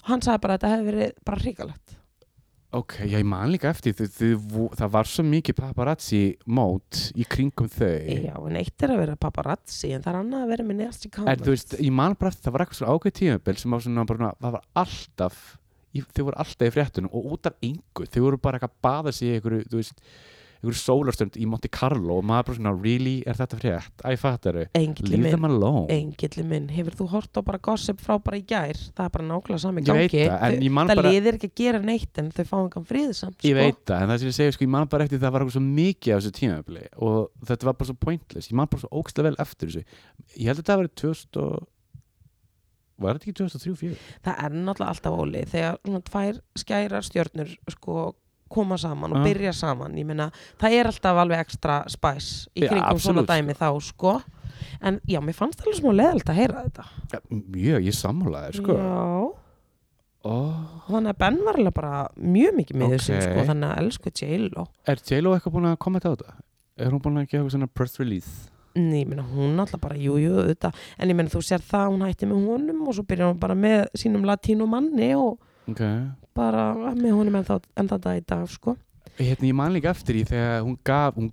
Og hann sagði bara að þetta hefði verið bara hrikalegt ok, já, ég man líka eftir þið, þið, vo- það var svo mikið paparazzi mót í kringum þau Já, en eitt er að vera paparazzi En það er annað að vera með næst í en kamer þú veist, ég man bara eftir það var eitthvað svona ákveð tímabil sem var svona bara, það var alltaf í- þau voru alltaf í fréttunum og út af yngu þau voru bara eitthvað að baða sig í einhverju, þú veist einhverju sólarstönd í Monte Carlo og maður bara svona, really, er þetta frétt? Æ, fattaru, Engilli leave minn, them alone engilli minn Hefur þú hort á bara gossip frá bara í gær Það er bara nákvæmlega sami Ég gangi veit það, en Þau- ég man Það bara- liðir ekki að gera neitt En þau fá engan frið samt sko. Ég veit það, en það sem ég segja, sko, ég man bara eftir það var eitthvað svo mikið á þessu tímafli og þetta var bara svo pointless, ég man bara svo ógstlega vel eftir þessu Ég held að þetta var 2000 og... Var þetta ekki 2003-04? það er náttúrulega alltaf óli þegar svona tvær skærar stjörnur sko koma saman og Já. byrja saman ég meina, það er alltaf alveg ekstra spæs í Já, kringum svona absolutt, dæmi þá sko en já, mér fannst alveg smá leðalt að heyra þetta Ja, mjög, ég sammálaði, sko já, oh, og þannig að Ben var alveg bara mjög mikið með Ok. þessu sko, þannig að elsku J-Lo Er J-Lo eitthvað búin að koma þetta á þetta? Er hún búin að gera eitthvað svona press release? en ég meina, hún alltaf bara, jú, jú, þetta en ég meina, þú sér það, hún hætti með honum og svo byrjar hún bara með sínum latínumanni og Ok bara með honum en það, en það í dag sko Hérna, ég man líka eftir því þegar hún gaf hún,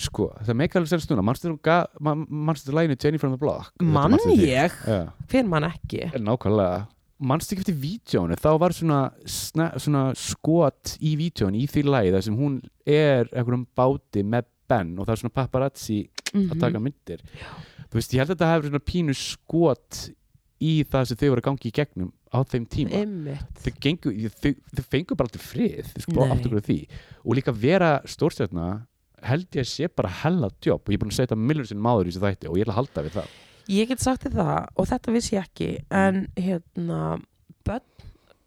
Sko, það meikar alveg sér stundna Manstu þetta læginu Jenny from the Block? mann Manstu eftir því? ég, Já hver mann ekki Nákvæmlega Manstu ekki eftir vídjónu, þá var svona, sna, svona skot í vídjónu í því lagi þar sem hún er einhverjum báti með Ben og það er svona paparazzi Mhm. að taka myndir Þú veist, ég held að þetta hefur svona pínu skot í það sem þau voru að gangi í gegnum á þeim tíma Einmitt. þau, gengu, þau, þau fengu bara aldrei frið þau sko Nei. aftur fyrir því og líka vera stórstjörna held ég að sé bara hella djóp og ég er búin að segja þetta millur sinni máður í þessu þætti og ég ætla að halda við það Ég get sagt þér það og þetta vissi ég ekki Mm. en hérna börn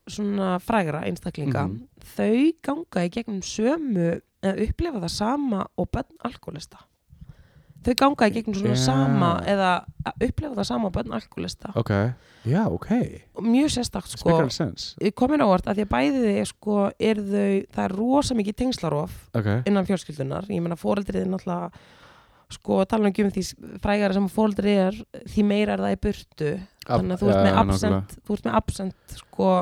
svona frægra einstaklinga Mhm. þau ganga í gegnum sömu eða upplifa það sama og börn alkoholista þau ganga í gegnum svona Já. sama eða upplifa það sama og börn alkoholista Ok, já, ok og mjög sérstakt sko Sko, Spekar sens komin á orð að því að bæði þið sko er þau, það er rosa mikið tengslarof okay. innan fjölskyldunar ég meina fóreldrið er náttúrulega sko tala ekki um því frægara sem fóreldrið er því meira er það í burtu þannig að þú ert með absent, þú ert með absent sko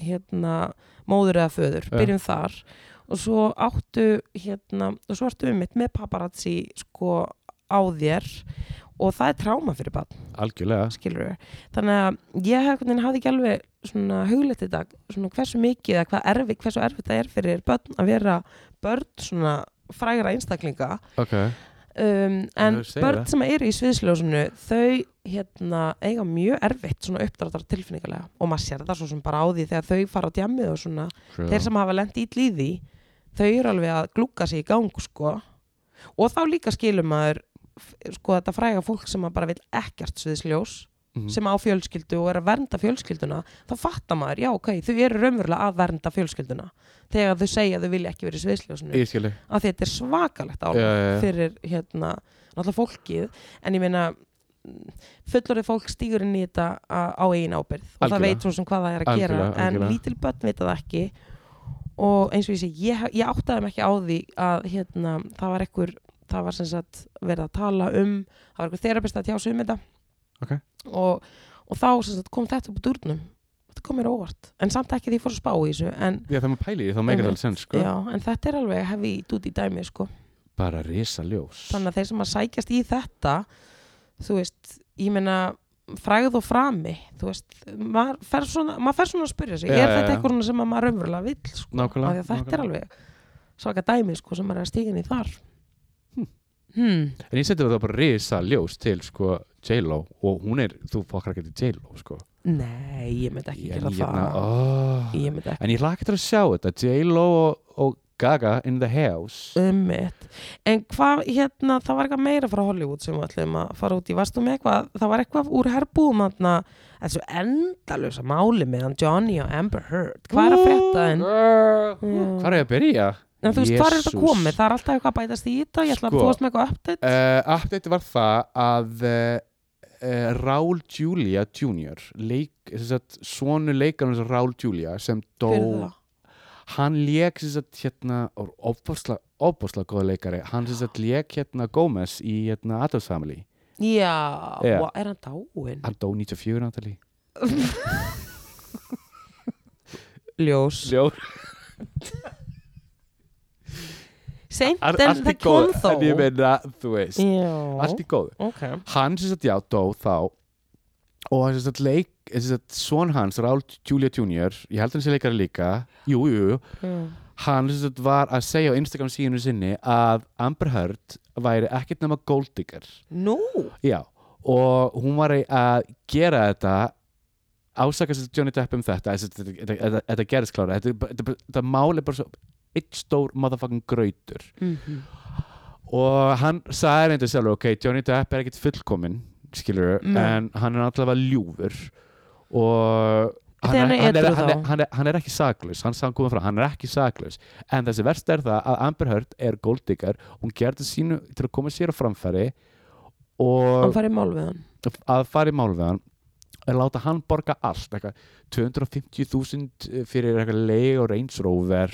hérna móður eða föður, Já. byrjum þar og svo áttu hérna og svo ertu um mitt með paparazzi sko á þér og það er tráma fyrir barn algjörlega skilur þannig að ég hef, hvernig, hafði ekki alveg svona hugleitt þetta svona hversu mikið eða hvað erfi, hversu erfitt það er fyrir börn að vera börn svona frægra einstaklinga okay. um, en þú segir börn það. sem eru í sviðsljósunu þau hérna eiga mjög erfitt svona uppdráttar tilfinningalega og maður sér það svo sem bara á því þegar þau fara á djamið og svona þeir sem hafa lent ítl í því þau eru alveg að glúka sig í gang sko. og þá líka skilur maður f- sko þetta fræga fólk sem að bara vil ekkert sviðsljós Mhm. sem á fjölskyldu og er að vernda fjölskylduna þá fattar maður, já ok, þau eru raunverulega að vernda fjölskylduna þegar þau segja að þau vilja ekki verið sviðsljósinu ég skilji af því þetta er svakalegt álag Já, já, já. fyrir hérna, náttúrulega fólkið en ég meina fullorðið fólk stígur inn í þetta a- á eigin ábyrð og það Algjörlega. veit svo sem hvað það er að gera Algjörlega, en algjörlega. lítil börn veit það ekki og eins og ég sé, ég, hef- ég áttaði mig ekki á því að hérna, það var ekkur það var sem sagt verið að tala um það var ekkur þerapist að tjá sig um þetta Ok. og, og þá sem sagt, kom þetta upp úr durnum þetta kom mér á óvart, en samt ekki því ég fór að spá í þessu en, já, það maður pæli í því, þá meikar Einmitt, það alveg sens sko. já, en þetta er alveg hefði dút í dæmi sko bara risa ljós þannig að þeir sem að sækjast í þetta þú veist, ég meina frægð og frami, þú veist maður fer svona, maður fer svona að spyrja sig Já, er já, þetta já. eitthvað svona sem að maður raunverulega vill sko? Af því nákvæmlega, að þetta er nákvæmlega. alveg svaka dæmi sko, sem maður er að stíga inn í þar Hmm. hmm. en ég seti það bara risa ljós til sko, J-Lo og hún er, þú fokkar ekki til J-Lo sko. Nei, ég myndi ekki gera það oh. Ég myndi ekki En ég hlakka til að sjá þetta J-Lo og, og Gaga in the house um En hvað, hérna, það var eitthvað meira frá Hollywood sem við ætlum að fara út í Varstu með eitthvað, það var eitthvað úr herbúum þarna, þessu endalösa máli með hann Johnny og Amber Heard Hvað er að frétta en Já. Hvað er ég að byrja? En þú veist, hvað er þetta Jesús. komið? Það er alltaf eitthvað að bætast í þetta Ég ætla Sko. að þú veist með eitthvað update Uh, update var það að uh, uh, Raúl Julia Jr. Leik, sem sagt, svonu leikarnars Raúl Julia sem dó fyrir það hann lék sem sagt, hérna, opasla, opasla góða leikari hann sem sagt, lék hérna Gómez í hérna, Adams Family Já, Já. yeah. er hann dáin? hann dó 94 náttúrulega Ljós Ljó, Seint all, en það kom þó en ég meina, þú veist Já, allt í góðu ok hann sem sagt já, dó þá og hann sem sagt leik sem sagt, svon hans, Raúl Julia Jr. ég held hann sé leikari líka jú, jú, jú Já. hann sem sagt, var að segja á Instagram síðinu sinni að Amber Heard væri ekkert nema golddigger Nú, já, og hún var að gera þetta ásakast Johnny Depp um þetta þessi- þetta- þetta þetta- þetta gerist klára þetta, er bara- þetta, þetta, þetta mál er bara svo eitt stór motherfucking grautur Mhm. og hann sagði reynda sjálfur ok, Johnny Depp er ekkert fullkominn skilur, Nei. en hann er allavega ljúfur og hann Þegar er, hann er hann, er, edrú hann, er, þá? hann, er, hann er ekki saklaus hann sagði komið frá, hann er ekki saklaus en þessi verst er það að Amber Heard er golddiggar, hún gerði sínu til að koma sér á framfæri hann og farið mál við hann að fara í mál við hann er að láta hann borga allt eitthvað, 250.000 eh, fyrir eitthvað leig og reynsróver er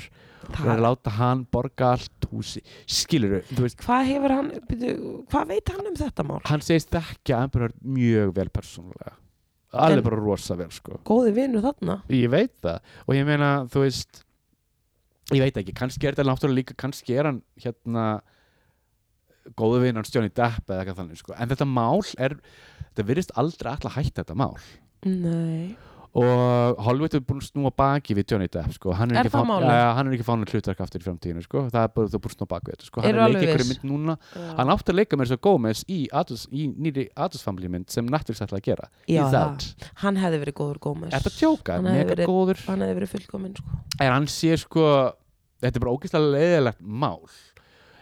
að Það- láta hann borga allt húsi, skilur þú veist Hvað hefur hann, byrju, hvað veit hann um þetta mál? hann segist þekkja Amber Heard mjög vel persónulega alveg En- bara rosa vel sko Góði vinur þarna ég veit það og ég meina þú veist ég veit ekki, kannski er þetta náttúrulega líka kannski er hann hérna góðu vinnan Johnny Depp eða eitthvað þannig sko. en þetta mál er þetta virðist aldrei alltaf hætta þetta mál Nei og Hollywood er búin að snúa baki við Johnny Depp sko. hann, Er er ekki það fá- málið? Ja, hann er ekki fána hlutverk aftur í framtíðinu sko. það er bara það er búin að snúa baki við þetta sko. hann Eru er leikið alveg einhverju viss? mynd núna hann átti að leika með þess að Gómez í, Addis, í nýri Addis-familji mynd sem Netflix ætlaði að gera Já, í það, það, hann hefði verið góður gómes þetta tjóka, Hann hefði mega verið- góður Hann hefði verið fullkominn sko en hann sé sko þetta er bara ógeðslega leiðilegt mál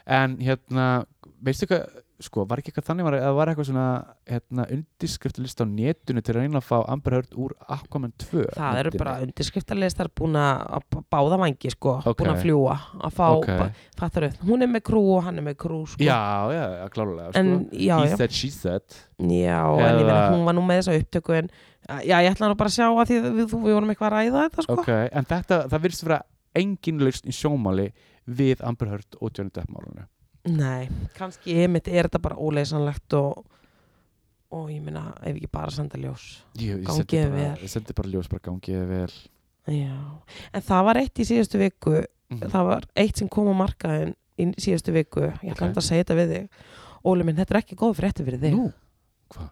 en hérna veistu hvað, sko, var ekki eitthvað þannig var, að var eitthvað svona hérna, undirskriftalist á netinu til að reyna að fá Amber Heard úr Aquaman 2 Það eru myndinni. bara undirskriftarlistar búin að að báða vangi sko Ok. Búin að fljúa Að fá, Ok. okay. fattar þau, hún er með krú og hann er með krú sko já, já, já, klálega sko. En, já, he já, said, she said já, en ég meina Eða- hún var nú með þessa upptöku en, já, ég ætla nú bara að sjá að því að við, þú- við vorum eitthvað að ræða þetta sko ok, en þetta, það virðist vera engin lausn í sjómáli við Amber Heard og Johnny Depp málunum Nei, kannski einmitt er þetta bara óleysanlegt og, og ég meina ef ekki bara senda ljós Jú, ég Gangi sendi þér bara, vel. ég sendi bara ljós bara gangið þér vel Já, en það var eitt í síðustu viku Mhm. það var eitt sem kom á markaðin í síðustu viku, ég ætla Ok. okay. að segja þetta við þig Óli minn, þetta er ekki góð frétti fyrir þig Nú, hvað?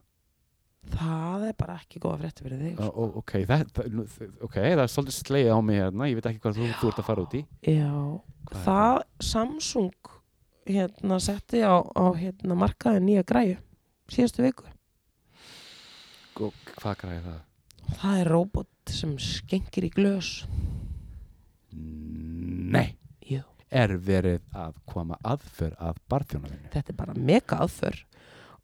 Það er bara ekki góð frétti fyrir þig Ó, ó, Ok, það, það, nú, þ- ok, það er svolítið sleið á mig hérna Ég veit ekki hvað þú, þú ert að fara út í Já, Hvað er það Samsung hérna setti á, á hérna markaðin nýja græju síðustu viku Og hvað græði það? Það er robot sem skengir í glös Nei, Jú er verið að koma aðför að barþjónavinu þetta er bara mega aðför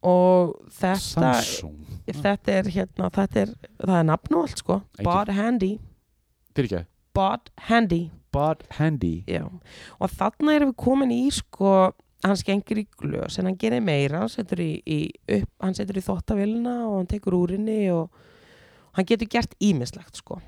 og þetta, Samsung, þetta er hérna, þetta er, það er nafn og allt sko Ekki- Bod Handy, fyrir ekki Bod Handy Bod Handy já. og þarna erum við komin í sko, hann skengir í glös en hann gerir meira, hann setur í, í upp, hann setur í þóttavélina og hann tekur úrinni og hann getur gert ímislegt sko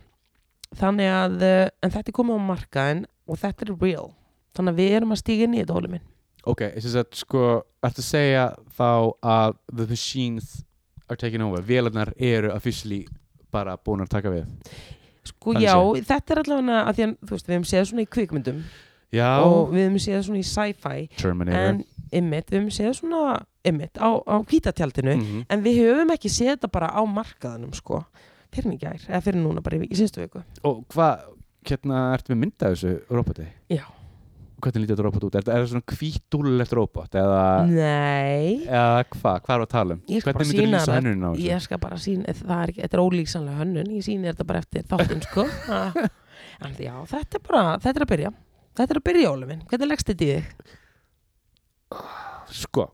þannig að, eh, en þetta er komið á markaðin og þetta er real þannig að við erum að stíga inn í þetta, Óli minn Ok, þess að sko, ertu að segja þá að the machines are taking over Vélarnar eru officially bara búin að taka við Sko Þannig já, þetta er allavega að því að, þú veist, við hefum séð svona í kvikmyndum Já, og við hefum séð svona í sci-fi Terminator en ymmit, við hefum séð svona ymmit á, á hvítatjaldinu Mhm. en við höfum ekki séð þetta bara á markaðanum sko, fyrir í gær, eða fyrir núna bara í, í síðustu viku Og hvað, hérna, ertu með myndað þessu roboti? Já. hvernig lítið þetta robot út? Er þetta er þetta svona hvítúlulegt robot eða, Nei, eða hvað, hvað er að tala um? Ég skal bara Hvernig myndir sýna lýsa þér. hennurinn á þessu? ég skal bara sína, það er ekki, þetta er ólíksanlega hönnun, ég síni þetta bara eftir þáttinn sko. Ha. en já, þetta er bara, þetta er að byrja, þetta er að byrja Óli minn, hvernig leggst þetta í þig? Sko,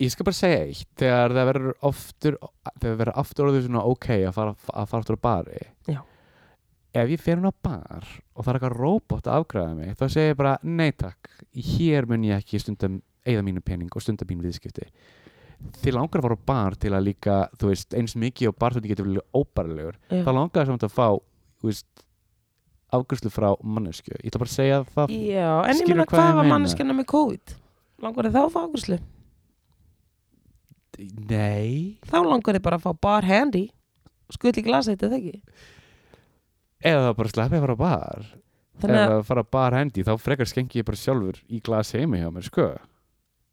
ég skal bara segja eitt þegar það verður oftur þegar það verður aftur orðið svona ok að fara, að fara aftur á bari Já. ef ég fer hún á bar og það er eitthvað robot að afgræða mig þá segir ég bara nei takk hér mun ég ekki stundum eigða mínu pening og stundum mínu viðskipti þið langar að fara á bar til að líka þú veist, eins mikið og bar þú getur verið óbærilegur Já. þá langar það samt að fá þú veist, afgræslu frá mannesku ég ætla bara að segja það Já, en ég Skilurðu meina hvað ég hvað var meina? manneskjana með COVID? Langar þið þá að fá ákvæslu? nei Þá langar þið bara að fá bar handy, skull í glasa þetta þegar ekki. eða það bara sleppi að fara á bar Þannig ef að, það fara á bar hendi þá frekar skengi ég bara sjálfur í glas heimi hjá mér sko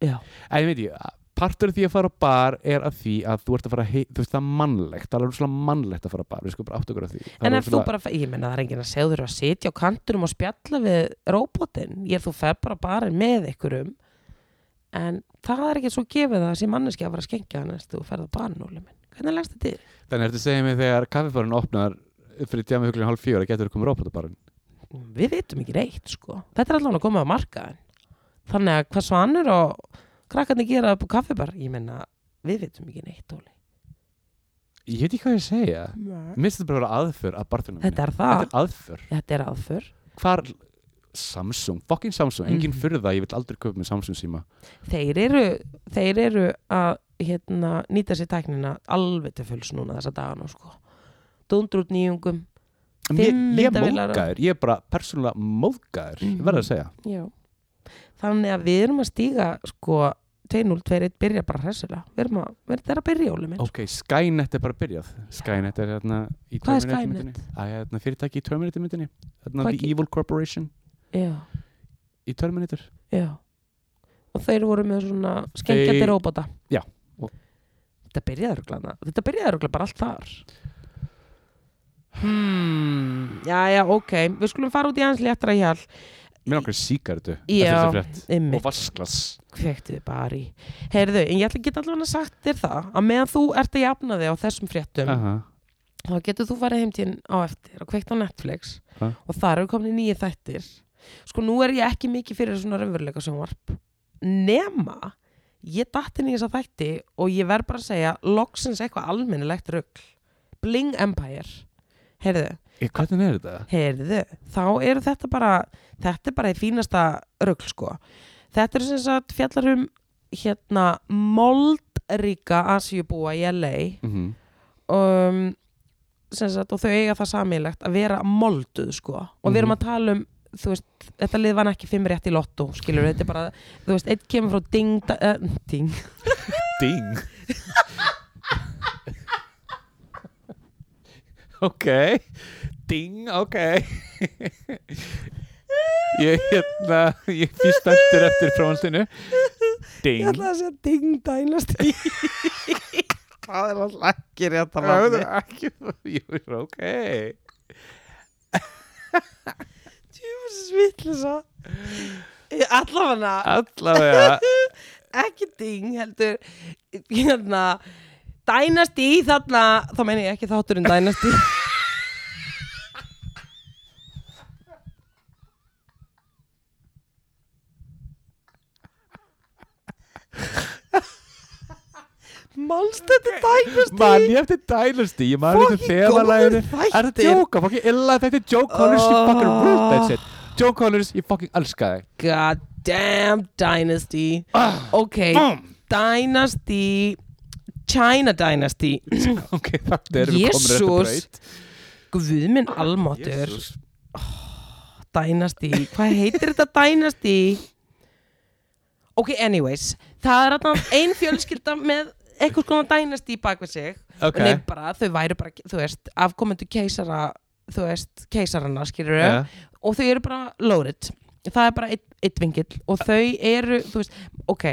en já, ég veit ég, partur af því að fara á bar er að því að þú ert að fara hei, þú veist það er mannlegt, það er alveg mannlegt að fara á bar við sko bara átt okkur á því Það en er ef þú rosalega- bara, ég meina það er enginn að segja þurfa að sitja á kantunum og spjalla við róbotinn, ég þú fer bara bara með ykkurum, en það er ekki svo gefið að þessi manneskja að fara að skengja hann næstu og ferða bara núli minn. Hvernig lengst þetta í þig? þannig ertu að segja mig þegar kaffibarinn opnar fyrir tjámi huglinn hálf fjóra getur þú komið rópat á barinn Við vitum ekki reitt, sko. Þetta er allavega að koma á markaðin. Þannig að hvað svanur og krakkarnir gera upp á kaffibar, ég meina, við vitum ekki neitt, Óli. ég veit ekki hvað ég að segja Nei. minnst þetta bara að vera aðför að barþunum Þetta er þetta það, er aðför þetta er aðför. hvar Samsung, fucking Samsung, engin Mhm. fyrir það ég vil aldrei köpa með Samsung síma Þeir eru, þeir eru að hérna, nýta sér tæknina alveg til fulls núna þessa dagana, sko. Dundrút nýjungum, En Ég, Fimm ég er myndavélar og- móðgæður, ég er bara persónulega móðgæður, mm Mhm. verður að segja já. Þannig að við erum að stíga, sko, 2-0-2-1 byrja bara hressilega. Við erum að, við erum að byrja, Óli minn. Ok, Skynet er bara byrjað Skynet er hérna í Hvað er Skynet? Terminator-myndinni. Æ, hérna fyrirtæki í Terminator myndinni hérna Hvað The ge- Evil Corporation Já. í Terminator Já. Og þeir voru með svona skengandi Þeir- róbóta. Já. Og- Þetta byrjaði örglana. Þetta byrjaði örglana bara allt þar. hmm. Já, já, ok. Við skulum fara út í hans léttra hjál. Mér langar síkartu Já. frétt Ymmi, og vasklas kvektu þið bara í. Heyrðu, en ég ætla að geta allavega sagt þér það að meðan þú ert að jafna þig á þessum fréttum Aha. þá getur þú farið heimtíðin á eftir og kveikt á Netflix Ha? og þar eru komin nýju þættir sko nú er ég ekki mikið fyrir svona raunveruleika sjónvarp nema ég datt inn í þessa þætti og ég verð bara að segja loksins eitthvað almennilegt rugl Bling Empire heyrðu, Ég, Hvernig er þetta? heyrðu þá eru þetta bara þetta er bara í fínasta rugl sko þetta eru sem sagt fjallar um hérna moldríka Asjubúa í LA Mm um, sem sagt, og þau eiga það samilegt að vera molduð sko. og við erum að tala um þú veist, þetta lið var ekki fimm rétt í lotto skilur, þetta er bara, þú veist, einn kemur frá ding, da, uh, ding Ding Ok Ding, ok Ég hérna Ég fyrst eftir eftir fráhansinu ég Ding ætla að segja ding dænast í Það er alltaf ekki rétt að vatni. ekki, jú, jú, ok svitlisa allavega Allavega ekki ding heldur hérna, dænast í þarna þá meina ég ekki um þátturinn dænast í Manstu þetta dænast Man, ég eftir Dynasty, ég man eftir Fucking þemalæðinu góðir Er þetta þættir. djóka, fucking illa, þetta er Joe Connors, ég fucking ruled that Oh. shit Joe Connors, ég fucking elska þig God damn dynasty Ah, Ok, mm. dynasty China dynasty Ok, þetta erum við komin rétt að Jesús. breyt Guðminn almáttur Ah, Dynasty, hvað heitir þetta Dynasty? Ok, anyways, það er að ein fjölskylda með eitthvað konar Dynasty bak við sig Ok, og nefn bara, þau væru bara, þú veist, afkomendu keisara, þú veist, keisarana skilur ja. og þau eru bara loaded það er bara eitt, eitt vingill og þau eru, þú veist, ok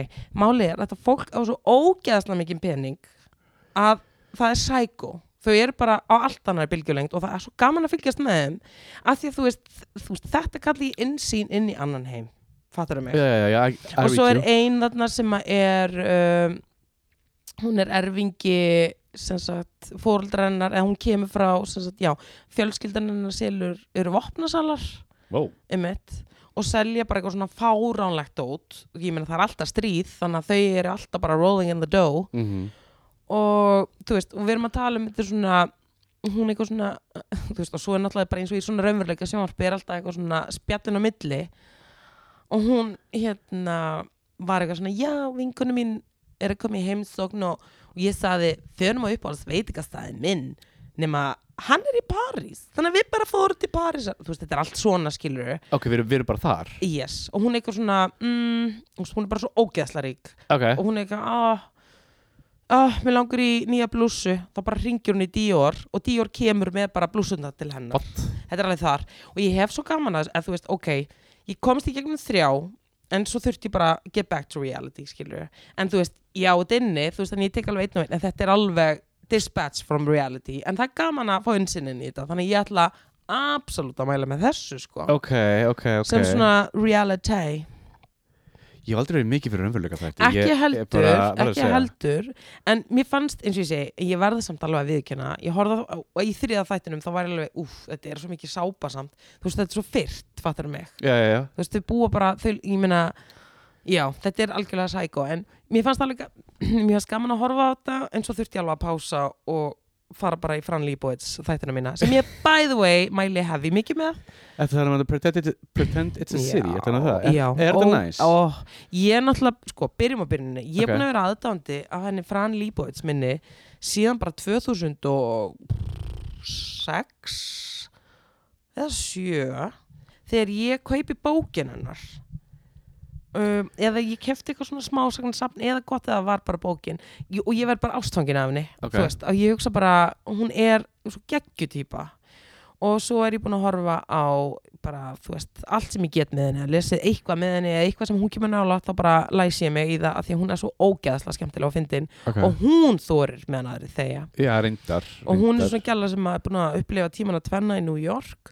málið er að þetta fólk á svo ógeðaslega mikið pening að það er sækó þau eru bara á allt annar bylgjulengd og það er svo gaman að fylgjast með þeim af því að þú veist, þú veist þetta kalli ég innsýn inn í annan heim fattur mig já, já, já, I, I og svo er read you. ein þarna sem að er um, hún er erfingi sem sagt fóreldrennar eða hún kemur frá sem sagt, já, fjölskyldanennar selur eru vopnasalar Wow. einmitt, og selja bara eitthvað svona fáránlegt út og ég meina það er alltaf stríð þannig að þau eru alltaf bara rolling in the dough Mm og þú veist, og við erum að tala um þetta svona hún eitthvað svona, þú veist, og svo er náttúrulega bara eins og í svona raunveruleika sjónvarpi er alltaf eitthvað svona spjallin á milli og hún hérna var eitthvað svona, já, vinkunum mín er að koma í heimsókn og, og ég saði, förum á uppáhalds veitingastæði minn nema, hann er í París þannig að við bara fórum til París þú veist, þetta er allt svona skilur Ok, við erum, við erum bara þar yes, og hún eitthvað svona mm, þú veist, hún er bara svo ógeðsla rík okay. og hún er eitthvað ah, ah, mér langur í nýja blússu þá bara ringir hún í Dior og Dior kemur með bara blússuna til hennar What? þetta er alveg þar og ég hef svo gaman að, að þú veist, ok ég komst í gegnum þrjá en svo þurfti ég bara get back to reality, skilur en þú veist, ég á þetta inni, þú veist, en ég tek alveg einn og einn en þetta er alveg dispatch from reality en það er gaman að fá innsinin í þetta þannig að ég ætla absolutt að mæla með þessu sko, Ok, ok, ok sem svona reality Ég hef aldrei verið mikið fyrir raunveruleika þætti ekki Ég- ég heldur, bara verð að ekki segja. heldur en mér fannst, eins og ég segi ég verði samt alveg að viðkjöna ég horfði á, og í þriða þættinum þá var ég alveg, úff, þetta er svo mikið sápasamt þú veist, þetta er svo fyrrt, fattar mig Já, já, já þú veist, þau búa bara, þau, ég meina já, þetta er algjörlega sækó en mér fannst alveg, ga- mér fannst gaman að horfa á þetta en svo þurfti ég alveg að pása og fara bara í Fran Líbóits þættina mína sem ég, by the way, mæli hefði mikið með Þetta er að pretend, it, pretend it's a city Já, Þetta er um það Er, já. er þetta Ó, næs? ó, Ég er náttúrulega, sko, byrjum á byrjunni Ég er Ok. búin að vera aðdándi af henni Fran Líbovits minni síðan bara 2006 eða 7 þegar ég kaupi bókin hennar um, eða ég kefti eitthvað svona smásagnarsafn eða gott eða var bara bókin ég, og ég verð bara ástfangin af henni Ok. þú veist, og ég hugsa bara, hún er svo geggjutýpa og svo er ég búin að horfa á bara, þú veist, allt sem ég get með henni lesið eitthvað með henni eða eitthvað sem hún kemur nála þá bara læs ég mig í það af því að hún er svo ógeðslega skemmtilega og fyndin okay. og hún þorir með hann aðri þegja Já, reyndar og hún er reyndar. svona gæla sem er búin að upplifa tíman að tvenna í New York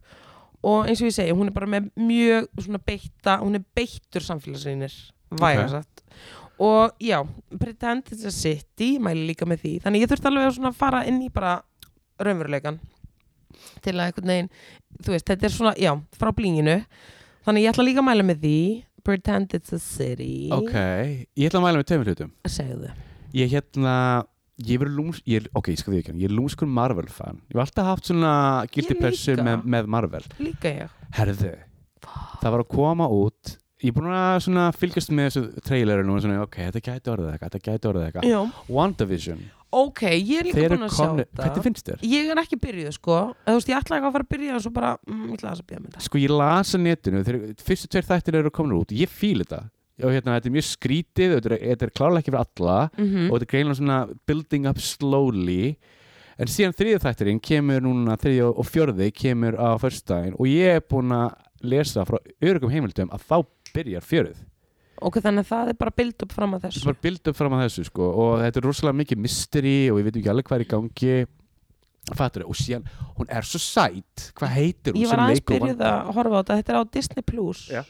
og eins og ég segi, hún er bara með mjög svona beitta, hún er beittur samfélagsrýnir, vægast sagt og já, Pretend is a City mæli líka með því, þannig ég þurfti alveg að svona fara inn í bara raunveruleikan til að einhvern veginn þú veist, þetta er svona, já, frá blinginu þannig ég ætla líka að mæla með því Pretend it's a City Ok, ég ætla að mæla með tveimur hlutum segðu, Ég hérna Ég verið lúms, ég, er- ok, ég skal því ekki, hérna. ég er lúmskur Marvel-fan. Ég hef alltaf haft svona gildi Ég pressur líka. með, með Marvel. líka ég Herðu, það var að koma út, ég er búin að svona fylgjast með þessu traileru núna, svona, ok, þetta gæti orðið eitthvað, þetta gæti orðið eitthvað. já, WandaVision, ok, ég er líka þeir búin eru að sjá komni, þetta hvernig finnst þér? ég er ekki byrjuð sko eða þú veist ég ætla ekki að fara að byrja en svo bara mm, ég ætla aðeins að byrja með það Sko ég las að netinu, þeir, fyrstu tveir þættir eru komin út, ég fíl þetta. Og hérna, þetta er mjög skrítið, þetta er, þetta er klárlega ekki fyrir alla mm og þetta er greinlega svona building up slowly. En síðan þriðið þættirinn kemur núna, þriðið og fjörðið kemur á förstæðin og ég er búin að lesa frá örugum heimildum að þá byrjar fjörið. ok þannig að það er bara build up fram að Þetta þessu er bara build up fram að þessu sko og þetta er rosalega mikið mystery og við veitum ekki alveg hvað er í gangi Fattur, og síðan, hún er svo sæt hvað heitir hún ég var aðeins leikur byrjuð Wanda? að horfa á þetta þetta er á Disney Plus Já.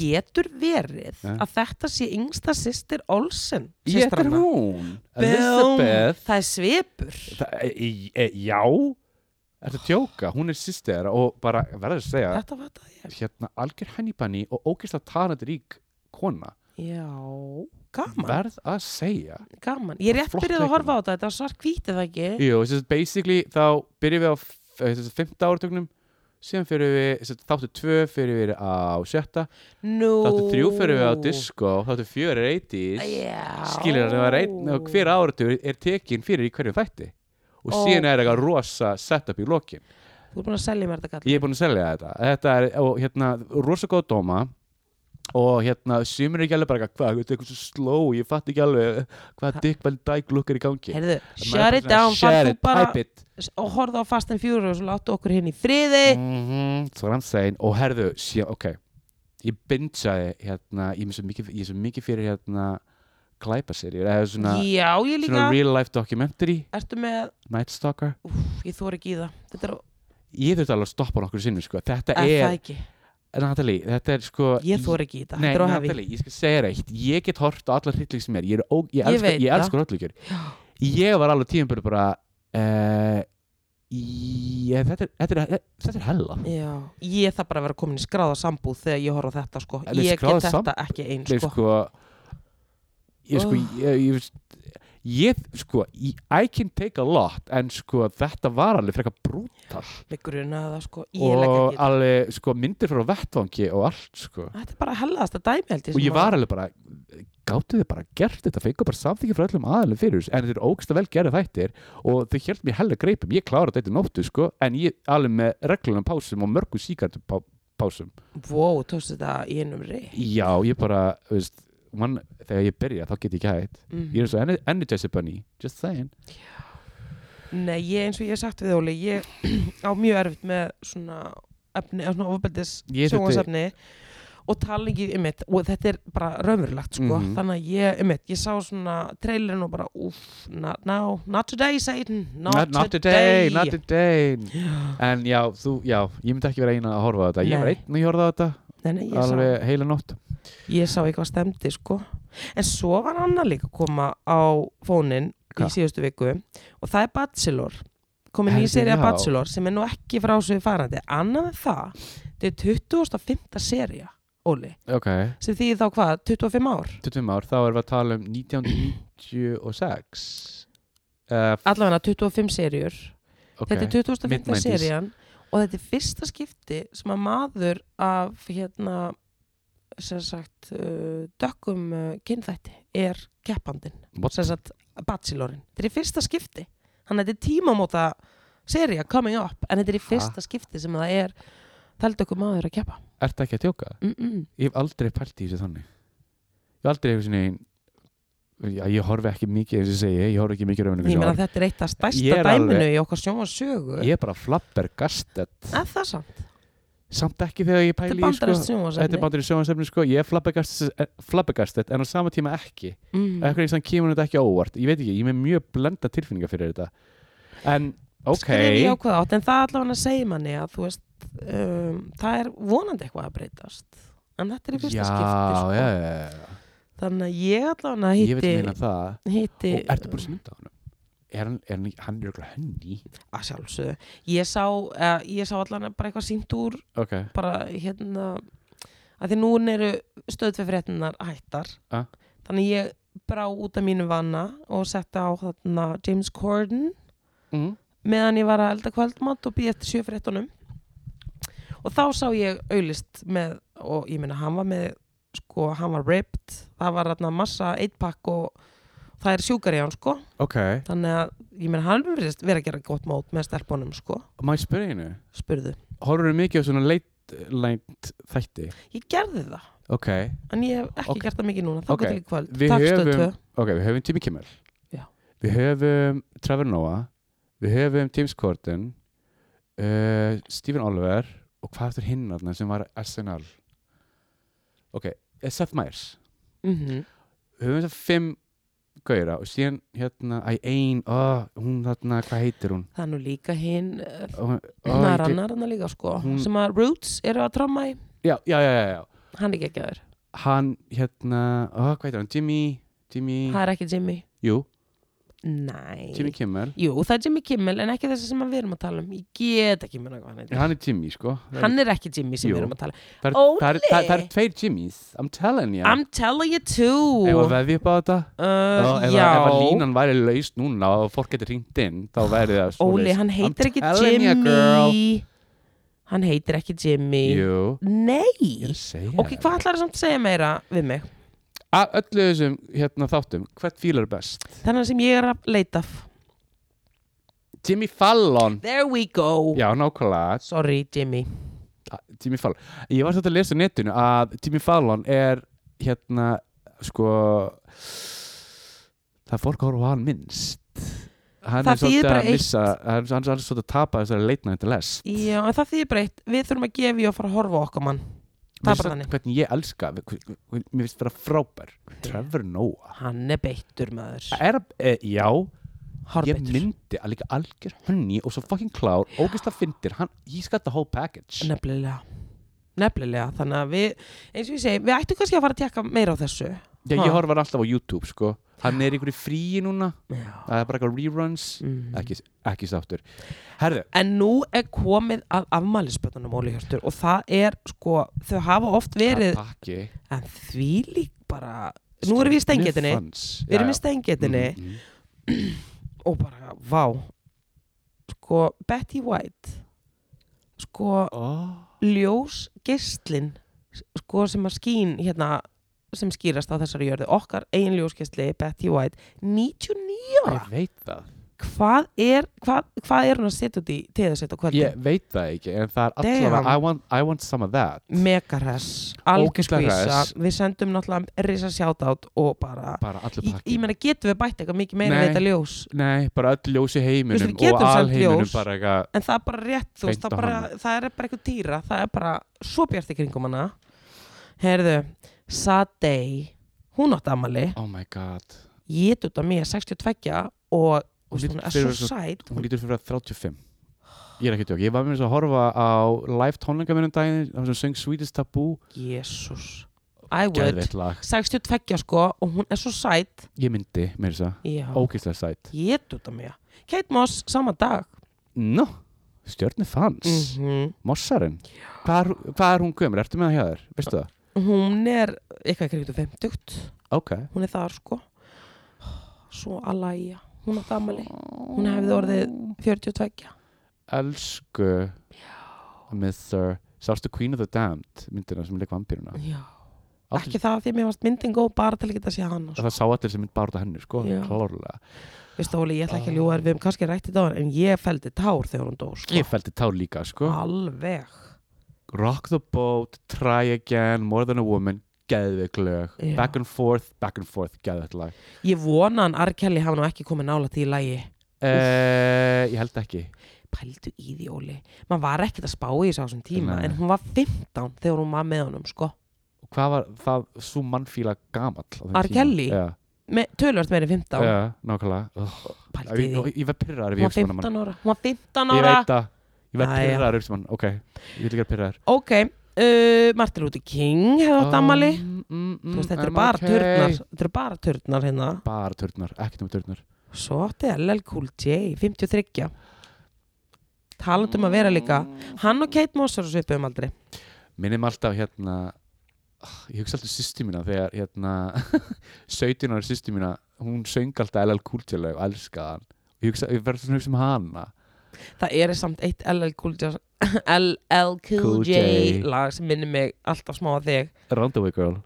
getur verið Já. að þetta sé yngsta sýstir Olsen Ég þetta er systrana? hún Boom. Elizabeth það er svipur Það- e, e, Já Þetta er tjóka, hún er sýstir og bara verður að segja þetta var þetta ég hérna algjör hennibanni og ógeðslega talandi rík kona já gaman verð að segja gaman ég er rétt Flott byrjuð að leikmynd. horfa á þetta þetta var svart hvítið það ekki Jú, þess að basically þá byrjum við á f- eh, sem sagt, fimmta áratögnum síðan fyrir við, sem sagt, þáttu tvö fyrir við á sjötta nú Þáttu þrjú fyrir við á disco, þáttu fjör er 80s já Skilur það var einn og hver áratur er tekin fyrir í hverju þætti Og Ó. síðan er eitthvað rosa setup í lokin þú er búin að selja mér þetta kall Ég er búin að selja þetta Þetta er, og hérna, rosa góð dóma Og hérna, sumir er ekki alveg bara eitthvað, Hvað, þetta er eitthvað svo slow, ég fatt ekki alveg Hvað dick vel dæk lukk er í gangi Heyrðu, Maður er shut it bara down, svona, far shut þú it, bara type it og horfðu á Fast and Furious og láttu okkur hinn í friði -hmm. Svo hann segin og herðu, síðan, ok ég bindsaði hérna, ég er svo mikið, ég er svo mikið fyrir hérna glæpaseríur eða svona, já, ég líka svona real life documentary ertu með, Night Stalker úf, ég þor ekki í það þetta er, ég þurfti alveg að stoppa nokkur sinnum sko. þetta er það er, ekki, Natalie, þetta er sko ég þor ekki í það Nei, þetta er á hefi, Natalie, ég skal segja þér eitt Ég get hort á allar hryllík sem er Ég, er ó, ég, Ég elska, veit ég það. elskar hryllíkjur Ég var alveg tíum bara bara uh, ég, þetta, er, þetta, er, þetta er hella já ég þarf bara að vera komin í skráða sambúð þegar ég horf á þetta sko, En ég skráða get þetta ekki einn Nei, sko, sko Ég sko Oh. ég, ég, veist- ég sko, ég, I can take a lot en sko þetta var alveg frekar brútal með gruna það sko ég legg og ekki í það, alveg sko myndir frá vettvangi og allt sko þetta er bara hellaðasta dæmi held ég og sem ég að- var alveg bara gáttu þið bara gert þetta, fengu bara samþykja frá öllum aðalum fyrir þessu, en þetta er ógsta vel gerða þættir og þau hjælt mér hella greipum ég klára þetta í nóttu sko, en ég alveg með reglunum pásum og mörgu síkartum pá, pásum, wow, tókst þetta í einum reyð já ég bara þú veist, man, þegar ég byrja þá get ég ekki hægt Mhm. ég er eins og ener- energizer bunny, just saying Nei, ég, eins og ég hef sagt við Óli, ég á mjög erfitt með svona efni, svona ofbeldis Ég þurfti- sjónvarsefni og talingi ymmit og þetta er bara raunverulegt sko, Mhm. þannig að ég ymmit, ég sá svona trailerin og bara úff, na, no, not today Satan, not, today, not today Já. en já, þú, já, ég myndi ekki vera eina að horfa á þetta, ég var Nei. einn að horfa á þetta Nei, nei, ég sá, alveg heila nótt ég sá eitthvað stemdi sko, en svo var annar líka að koma á fónin í Hva? síðustu viku og það er Bachelor komin í Herðu, serið já. Bachelor sem er nú ekki frá svo farandi, annað en það þetta er 25. seria Óli, ok, sem þýðir þá hvað 25 ár, 25 ár, þá erum við að tala um 1996 uh, allavega 25 seriur, þetta er 25. Mid-nineties. serían og þetta er fyrsta skipti sem að maður af hérna sem sagt uh, dökkum uh, kynþætti er keppandinn, What? sem sagt bachelorinn, þetta er í fyrsta skipti þannig að þetta er tímamóta seria coming up, en þetta er í fyrsta skipti sem það er þaldökkum maður að keppa Ertu ekki að tjóka? mm -mm. Ég hef aldrei pælt í þessu þannig Ég hef aldrei eitthvað sinni Já, ég horfi ekki mikið eins og ég segi, ég horfi ekki mikið raunin Ég meina að þetta er eitt af Ég stærsta er dæminu alveg- í okkar sjónvarsögu Ég er bara flabbergastet Er það samt? Samt ekki þegar ég Þetta er pæli í sko bandarast sjónvarsöfni Þetta er bandur í sjónasefni sko, ég er flabbergastet, eh, flabbergastet en á sama tíma ekki mm. mm. Ekkur eins og hann kemur þetta ekki á óvart Ég veit ekki, ég er með mjög blenda tilfinningar fyrir þetta En, ok Skrif ég ákveða átt En það allavega segir manni að þú veist um, Það er vonandi eitthvað að breytast En þetta er í fyrsta já, skipti sko. já, já, já. Þannig að ég allavega Ég vil meina hitti það Hitti Og ertu búin að smynda á hann? Er hann, er hann, hann er okkur henni? að sjálfsögðu Ég sá, uh, ég sá allavega bara eitthvað sínt úr Ok, Bara hérna að Því nú eru stöðfið fréttinar hættar Ah. Þannig ég brá út af mínu vanna Og setti á þarna James Corden mm. meðan ég var að elda kvöldmatt og býði eftir sjöfréttunum og þá sá ég auðlist með og ég meina hann var með sko hann var ripped það var þarna massa eittpakk og það er sjúkar í hann sko ok þannig að ég meina hann verðist vera að gera gott mót með stelpunum sko Má ég spyrja einu? spurðu Horfurðu mikið á svona leit, leit þætti? ég gerði það Ok en ég hef ekki Ok. gert það mikið núna þá Ok. okay. til í kvöld Við Takk, Stöð höfum- tvö. Ok, við höfum Jimmy Kimmel Já. Við höfum Trevor Noah Við höfum James Corden uh, Stephen Oliver Og hvað eftir hinn þarna sem var SNL Ok, eh, Seth Meyers Mhm. Við höfum þess að fimm gauðra Og síðan hérna, æ, ein, ó, hún þarna, hvað heitir hún? það er nú líka hinn uh, Ó, ó, oh, ég gley- narannar hann líka sko Hún- sem að Roots eru að tromma í Já, já, já, já, já hann er ekki ekki að þér hann hérna, oh, hvað heitir hann, Jimmy Jimmy, það er ekki Jimmy jú, næ Jimmy Kimmel Jú, það er Jimmy Kimmel en ekki þessi sem við erum að tala um Ég get ekki meina hvað hann heitir hann er Jimmy sko Hann er ekki Jimmy sem Jú. við erum að tala um það, er, Óli! það, er, það, það er tveir Jimmys I'm telling you, I'm telling you too ef að veðja upp á þetta uh, ef, að- Já ef að línan væri laust núna og fólk getur hringt inn þá væri það svo Óli, hann heitir ekki telling you, Jimmy Hann heitir ekki Jimmy jú, ég er Nei að segja Ok, hvað ætlar það samt að segja meira við mig? að öllu þessum hérna þáttum, hvert fílar er best Þannig sem ég er að leita af Jimmy Fallon There we go já, nákvæmlega, Sorry, Jimmy Jimmy Fallon ég var svolítið að lesa á netinu að Jimmy Fallon er hérna sko það er fólk að horfa á hann minnst hann Það er svolítið þýðir bara að eitt. missa hann, hann, hann er svolítið að tapa þessari leitna þetta lest Já, en það þýðir breytt Við þurfum að gefa í og fara að horfa á okkar mann Mér Tapar finnst þannig. það hvernig ég elska hv- hv- hv- mér finnst það frábær Trevor Noah Hann er beittur maður. Það er, e, já, ég Hárbeittur. myndi að líka algjör hönni og svo fucking klár, ógist að fyndir hann, he's got the whole package Nefnilega. Nefnilega. Þannig að við, eins og ég segi, við ættum kannski að fara að tekka meira á þessu. Já, ég Ha. horfa alltaf á YouTube, sko hann er í einhverju fríi núna, Já. það er bara eitthvað reruns Mm. ekki, ekki sáttur Herðu, En nú er komið að afmælisböndunum Óli Hjörtur og það er sko, þau hafa oft verið, pakki en því lík bara, nú erum við í stengjetinni, við erum í stengjetinni mm, og bara, vá, sko, Betty White, sko, oh. ljós gistlin, sko, sem að skín hérna, sem skýrast á þessari jörðu, okkar eigin ljósgistli, Betty White, 99 ára, Ég veit það hvað er, hvað, hvað er hún að setja út í til þess að setja á kvöldin? Ég veit það ekki, en það er Damn. allavega I want, I want some of that mega hress, algjör Ógeðslega skvísa hress. við sendum náttúrulega risa sjátátt og bara, bara allur ég, pakki ég meina getum við bætt eitthvað mikið meira Nei. við þetta ljós Nei, bara öll ljós í Þú heiminum veist, við og getum sent alheiminum ljós. bara eitthvað en það er bara rétt, þú veist, Beint það, á bara, hana. það er bara eitthvað týra, það er bara svo bjart í kringum hana heyrðu, Sadei hún átt amali, Oh my god, ég út af mér 62 og þú veist, Hún hún lítur er svo fyrir svo- sæt hún lítur fyrir að 35 Ég er ekki tjók, ég var með þess að horfa á live tónleika minnum daginn það sem söng Sweetest Taboo jésús, I would Geðveitt lag, 62 sko og hún er svo sæt ég myndi með þess að já, Ógeðslega sætt ég út af mér Kate Moss, sama dag Nó, stjörni fans mhm Mossarinn hvað er, hvað er hún gömur? Ertu með það hjá þér? Veistu það? hún er eitthvað kringum 50 Ok hún er þar sko svo Alaya, hún átt amali hún hefði orðið 42 Elsku Mr. Sástu Queen of the Damned myndina sem leik vampýruna já, Allir- ekki það því að mér varst myndin góð bara til að geta að sé hana sko. Það sá allir sem mynd bara út af henni sko, Já. klárlega veistu Óli, ég ætla Ah. ekki að ljúa þér, við hefum kannski rætt í dag en ég feldi tár þegar hún dó sko. Ég fælti tá líka sko alveg Rock the boat, try again, more than a woman Geðveik lög, Já. back and forth, back and forth, geðveik lag ég vona hann Arkelli hafa nú ekki komið nála til í lagi uh, Ég held ekki pældu í því Óli maður var ekkert að spá í þessu á þessum tíma Nei. en hún var 15 þegar hún var með honum sko. Hvað var það, svo mannfíla gamall á þeim R. tíma? Kelly? Já, með, tölvöld meiri 15 já nákvæmlega Ugh, pældu í Ég, því ég, ég var pyrraðar hún var 15 ára hún var 15 Ég ára veit það Ég verð Jæja. pyrraðar upp sem hann, ok Ég vil ekki að pyrraðar Ok, uh, Martin Luther King hefði átt ammali Um, Þú veist, Ah, þetta eru bara turnar Þetta eru bara turnar hérna Bara turnar, ekkert um turnar Svo átti LL Cool J, 53 Talandum að vera líka Hann og Kate Moss eru svipið um aldrei Minnum alltaf hérna ah, Ég hugsa alltaf sýstu mína þegar hérna 17 ára sýstu mína Hún söng alltaf LL Cool J lög og elskaði hann Ég, hugsa, ég verður svona að hugsa um hana Það er samt eitt LL Cool J LL Cool Cool J J. lag sem minnir mig alltaf smá að þig Roundaway girl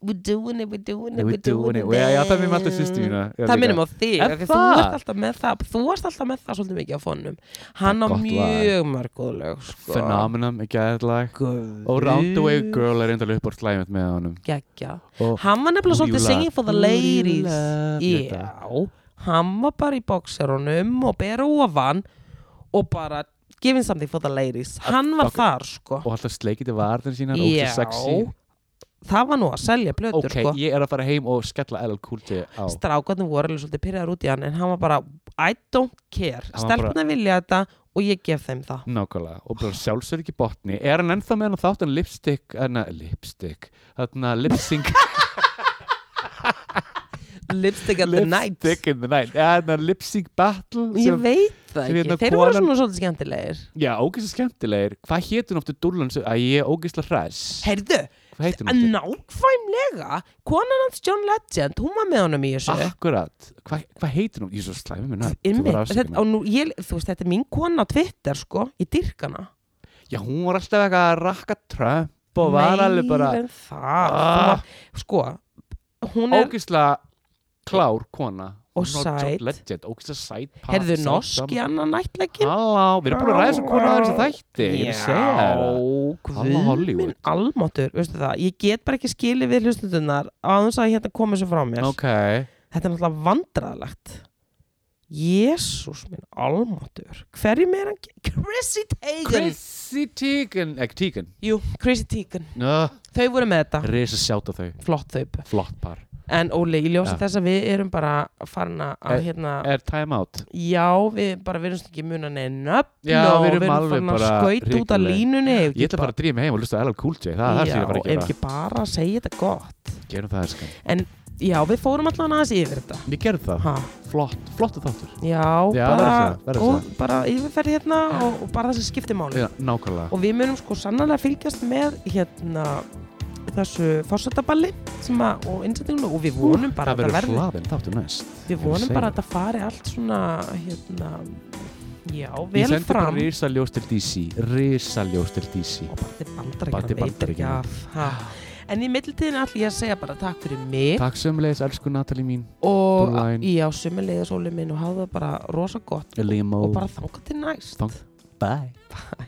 We're doing it, we're doing it, We're doing it Já, já, það minnum alltaf sýstu mína Já, Það líka. minnum á þig, Er af því þú það? varst alltaf með það Þú varst alltaf með það svolítið mikið á fónum Hann á Það er gott lag. mjög mörgóðlög sko. Phenomenon, ekki aðeinslega Guð. Og Roundaway girl er eindalega upp á slæmið með honum Gekkja. Og Hann var nefnilega Who Oh. you svolítið love. singing for the Who you ladies love. Ég veit Já Hann var bara í bókserunum og bera ofan og bara giving something for the ladies Hann var fuck- þar sko og alltaf sleikiti varðin sína og Já sexy Það var nú að selja blötur ok, sko ég er að fara heim og skella LL Cool J á Strákarnir voru alveg svolítið pyrraður út í hann en hann var bara I don't care Hann var bara- Stelpna vilja þetta og ég gef þeim það nákvæmlega, og bara sjálfsögur ekki botni er hann ennþá með hann þátt en lipstick enna, lipstick, þarna lipsync Lipstick at the night lipstick in the night, enna lipsync battle Ég sem, veit það sem ekki, hérna þeir voru konan- svona svolítið skemmtilegir já, ógeðslega skemmtilegir hvað hétun ofta dúllan sem, að ég er ógeðslega hress Heyrðu, hvað hétun En ofta? nákvæmlega, konan hans John Legend, hún var með honum í þessu. Ah. Akkurat, hvað hva heitir hún? Ég er svo slæmi með nöfn, þú Einmitt, verður að afsaka þetta, mig. og nú, ég, þú veist, þetta er mín kona á Twitter sko, ég dyrk hana Já, hún var alltaf eitthvað að rakka Trump og var alveg bara Meir en það Þú Ah. var- Sko, hún er ógislega klár kona Og Hún var sæt. John Legend, ógislega sæt pa- Herðu sæt norski dama. annan nættleikin Halló, við erum búin að ræða þessu konu aðeins að þætti Ég er að segja þér það. Halló, guð Hollywood. minn almáttur veistu það, ég get bara ekki skilið við hlustundunar á þess að hérna komið svo frá mér Ok, Þetta er náttúrulega vandræðalegt Jésús minn almatur hverjum er hann? ge- Chrissy Teigen Chrissy Teigen, ekki Teigen Jú, Chrissy Teigen uh, Þau voru með þetta, Risa sjáta þau, flott þau flott par En Óli, ég ljósa Já. Eh, þess að við erum bara farin að Er- hérna Er time out? Já, við bara verðum ekki muna neina nöfn Já, og við erum alveg farin að bara skaut út af hrikaleg. línunni ef Ég ekki ætla bara að dríma heim og lusta á LL Cool J Það er það sem Já, ég er bara að ef gera ekki bara að segja þetta gott Gerum það elskan Já, við fórum allan aðeins yfir þetta Við gerum það, ha, flott, flott þáttur Já, Já, bara, verður það, verður góð, bara yfirferð hérna og, og bara það sem skiptir máli Já, Nákvæmlega og við munum sko sannlega fylgjast með hérna þessu fórsetaballi sem að, og innsettinginu og við vonum bara að Það verður þetta verði hlaðin þáttur næst við ég vonum segi bara það. að þetta fari allt svona hérna já, Ég vel sendi bara fram risa ljós til DC Risa ljós til DC og bara til Bara til bandarækjana veit ekki Bandaríkjanna. af ha. en í millitíðin ætlum ég að segja bara takk fyrir mig Takk sömulegis, elsku Natalie mín og Búlæn. í á sumilega sóli minn og hafa það bara rosa gott Limo og bara þanga til næst Bye Bye.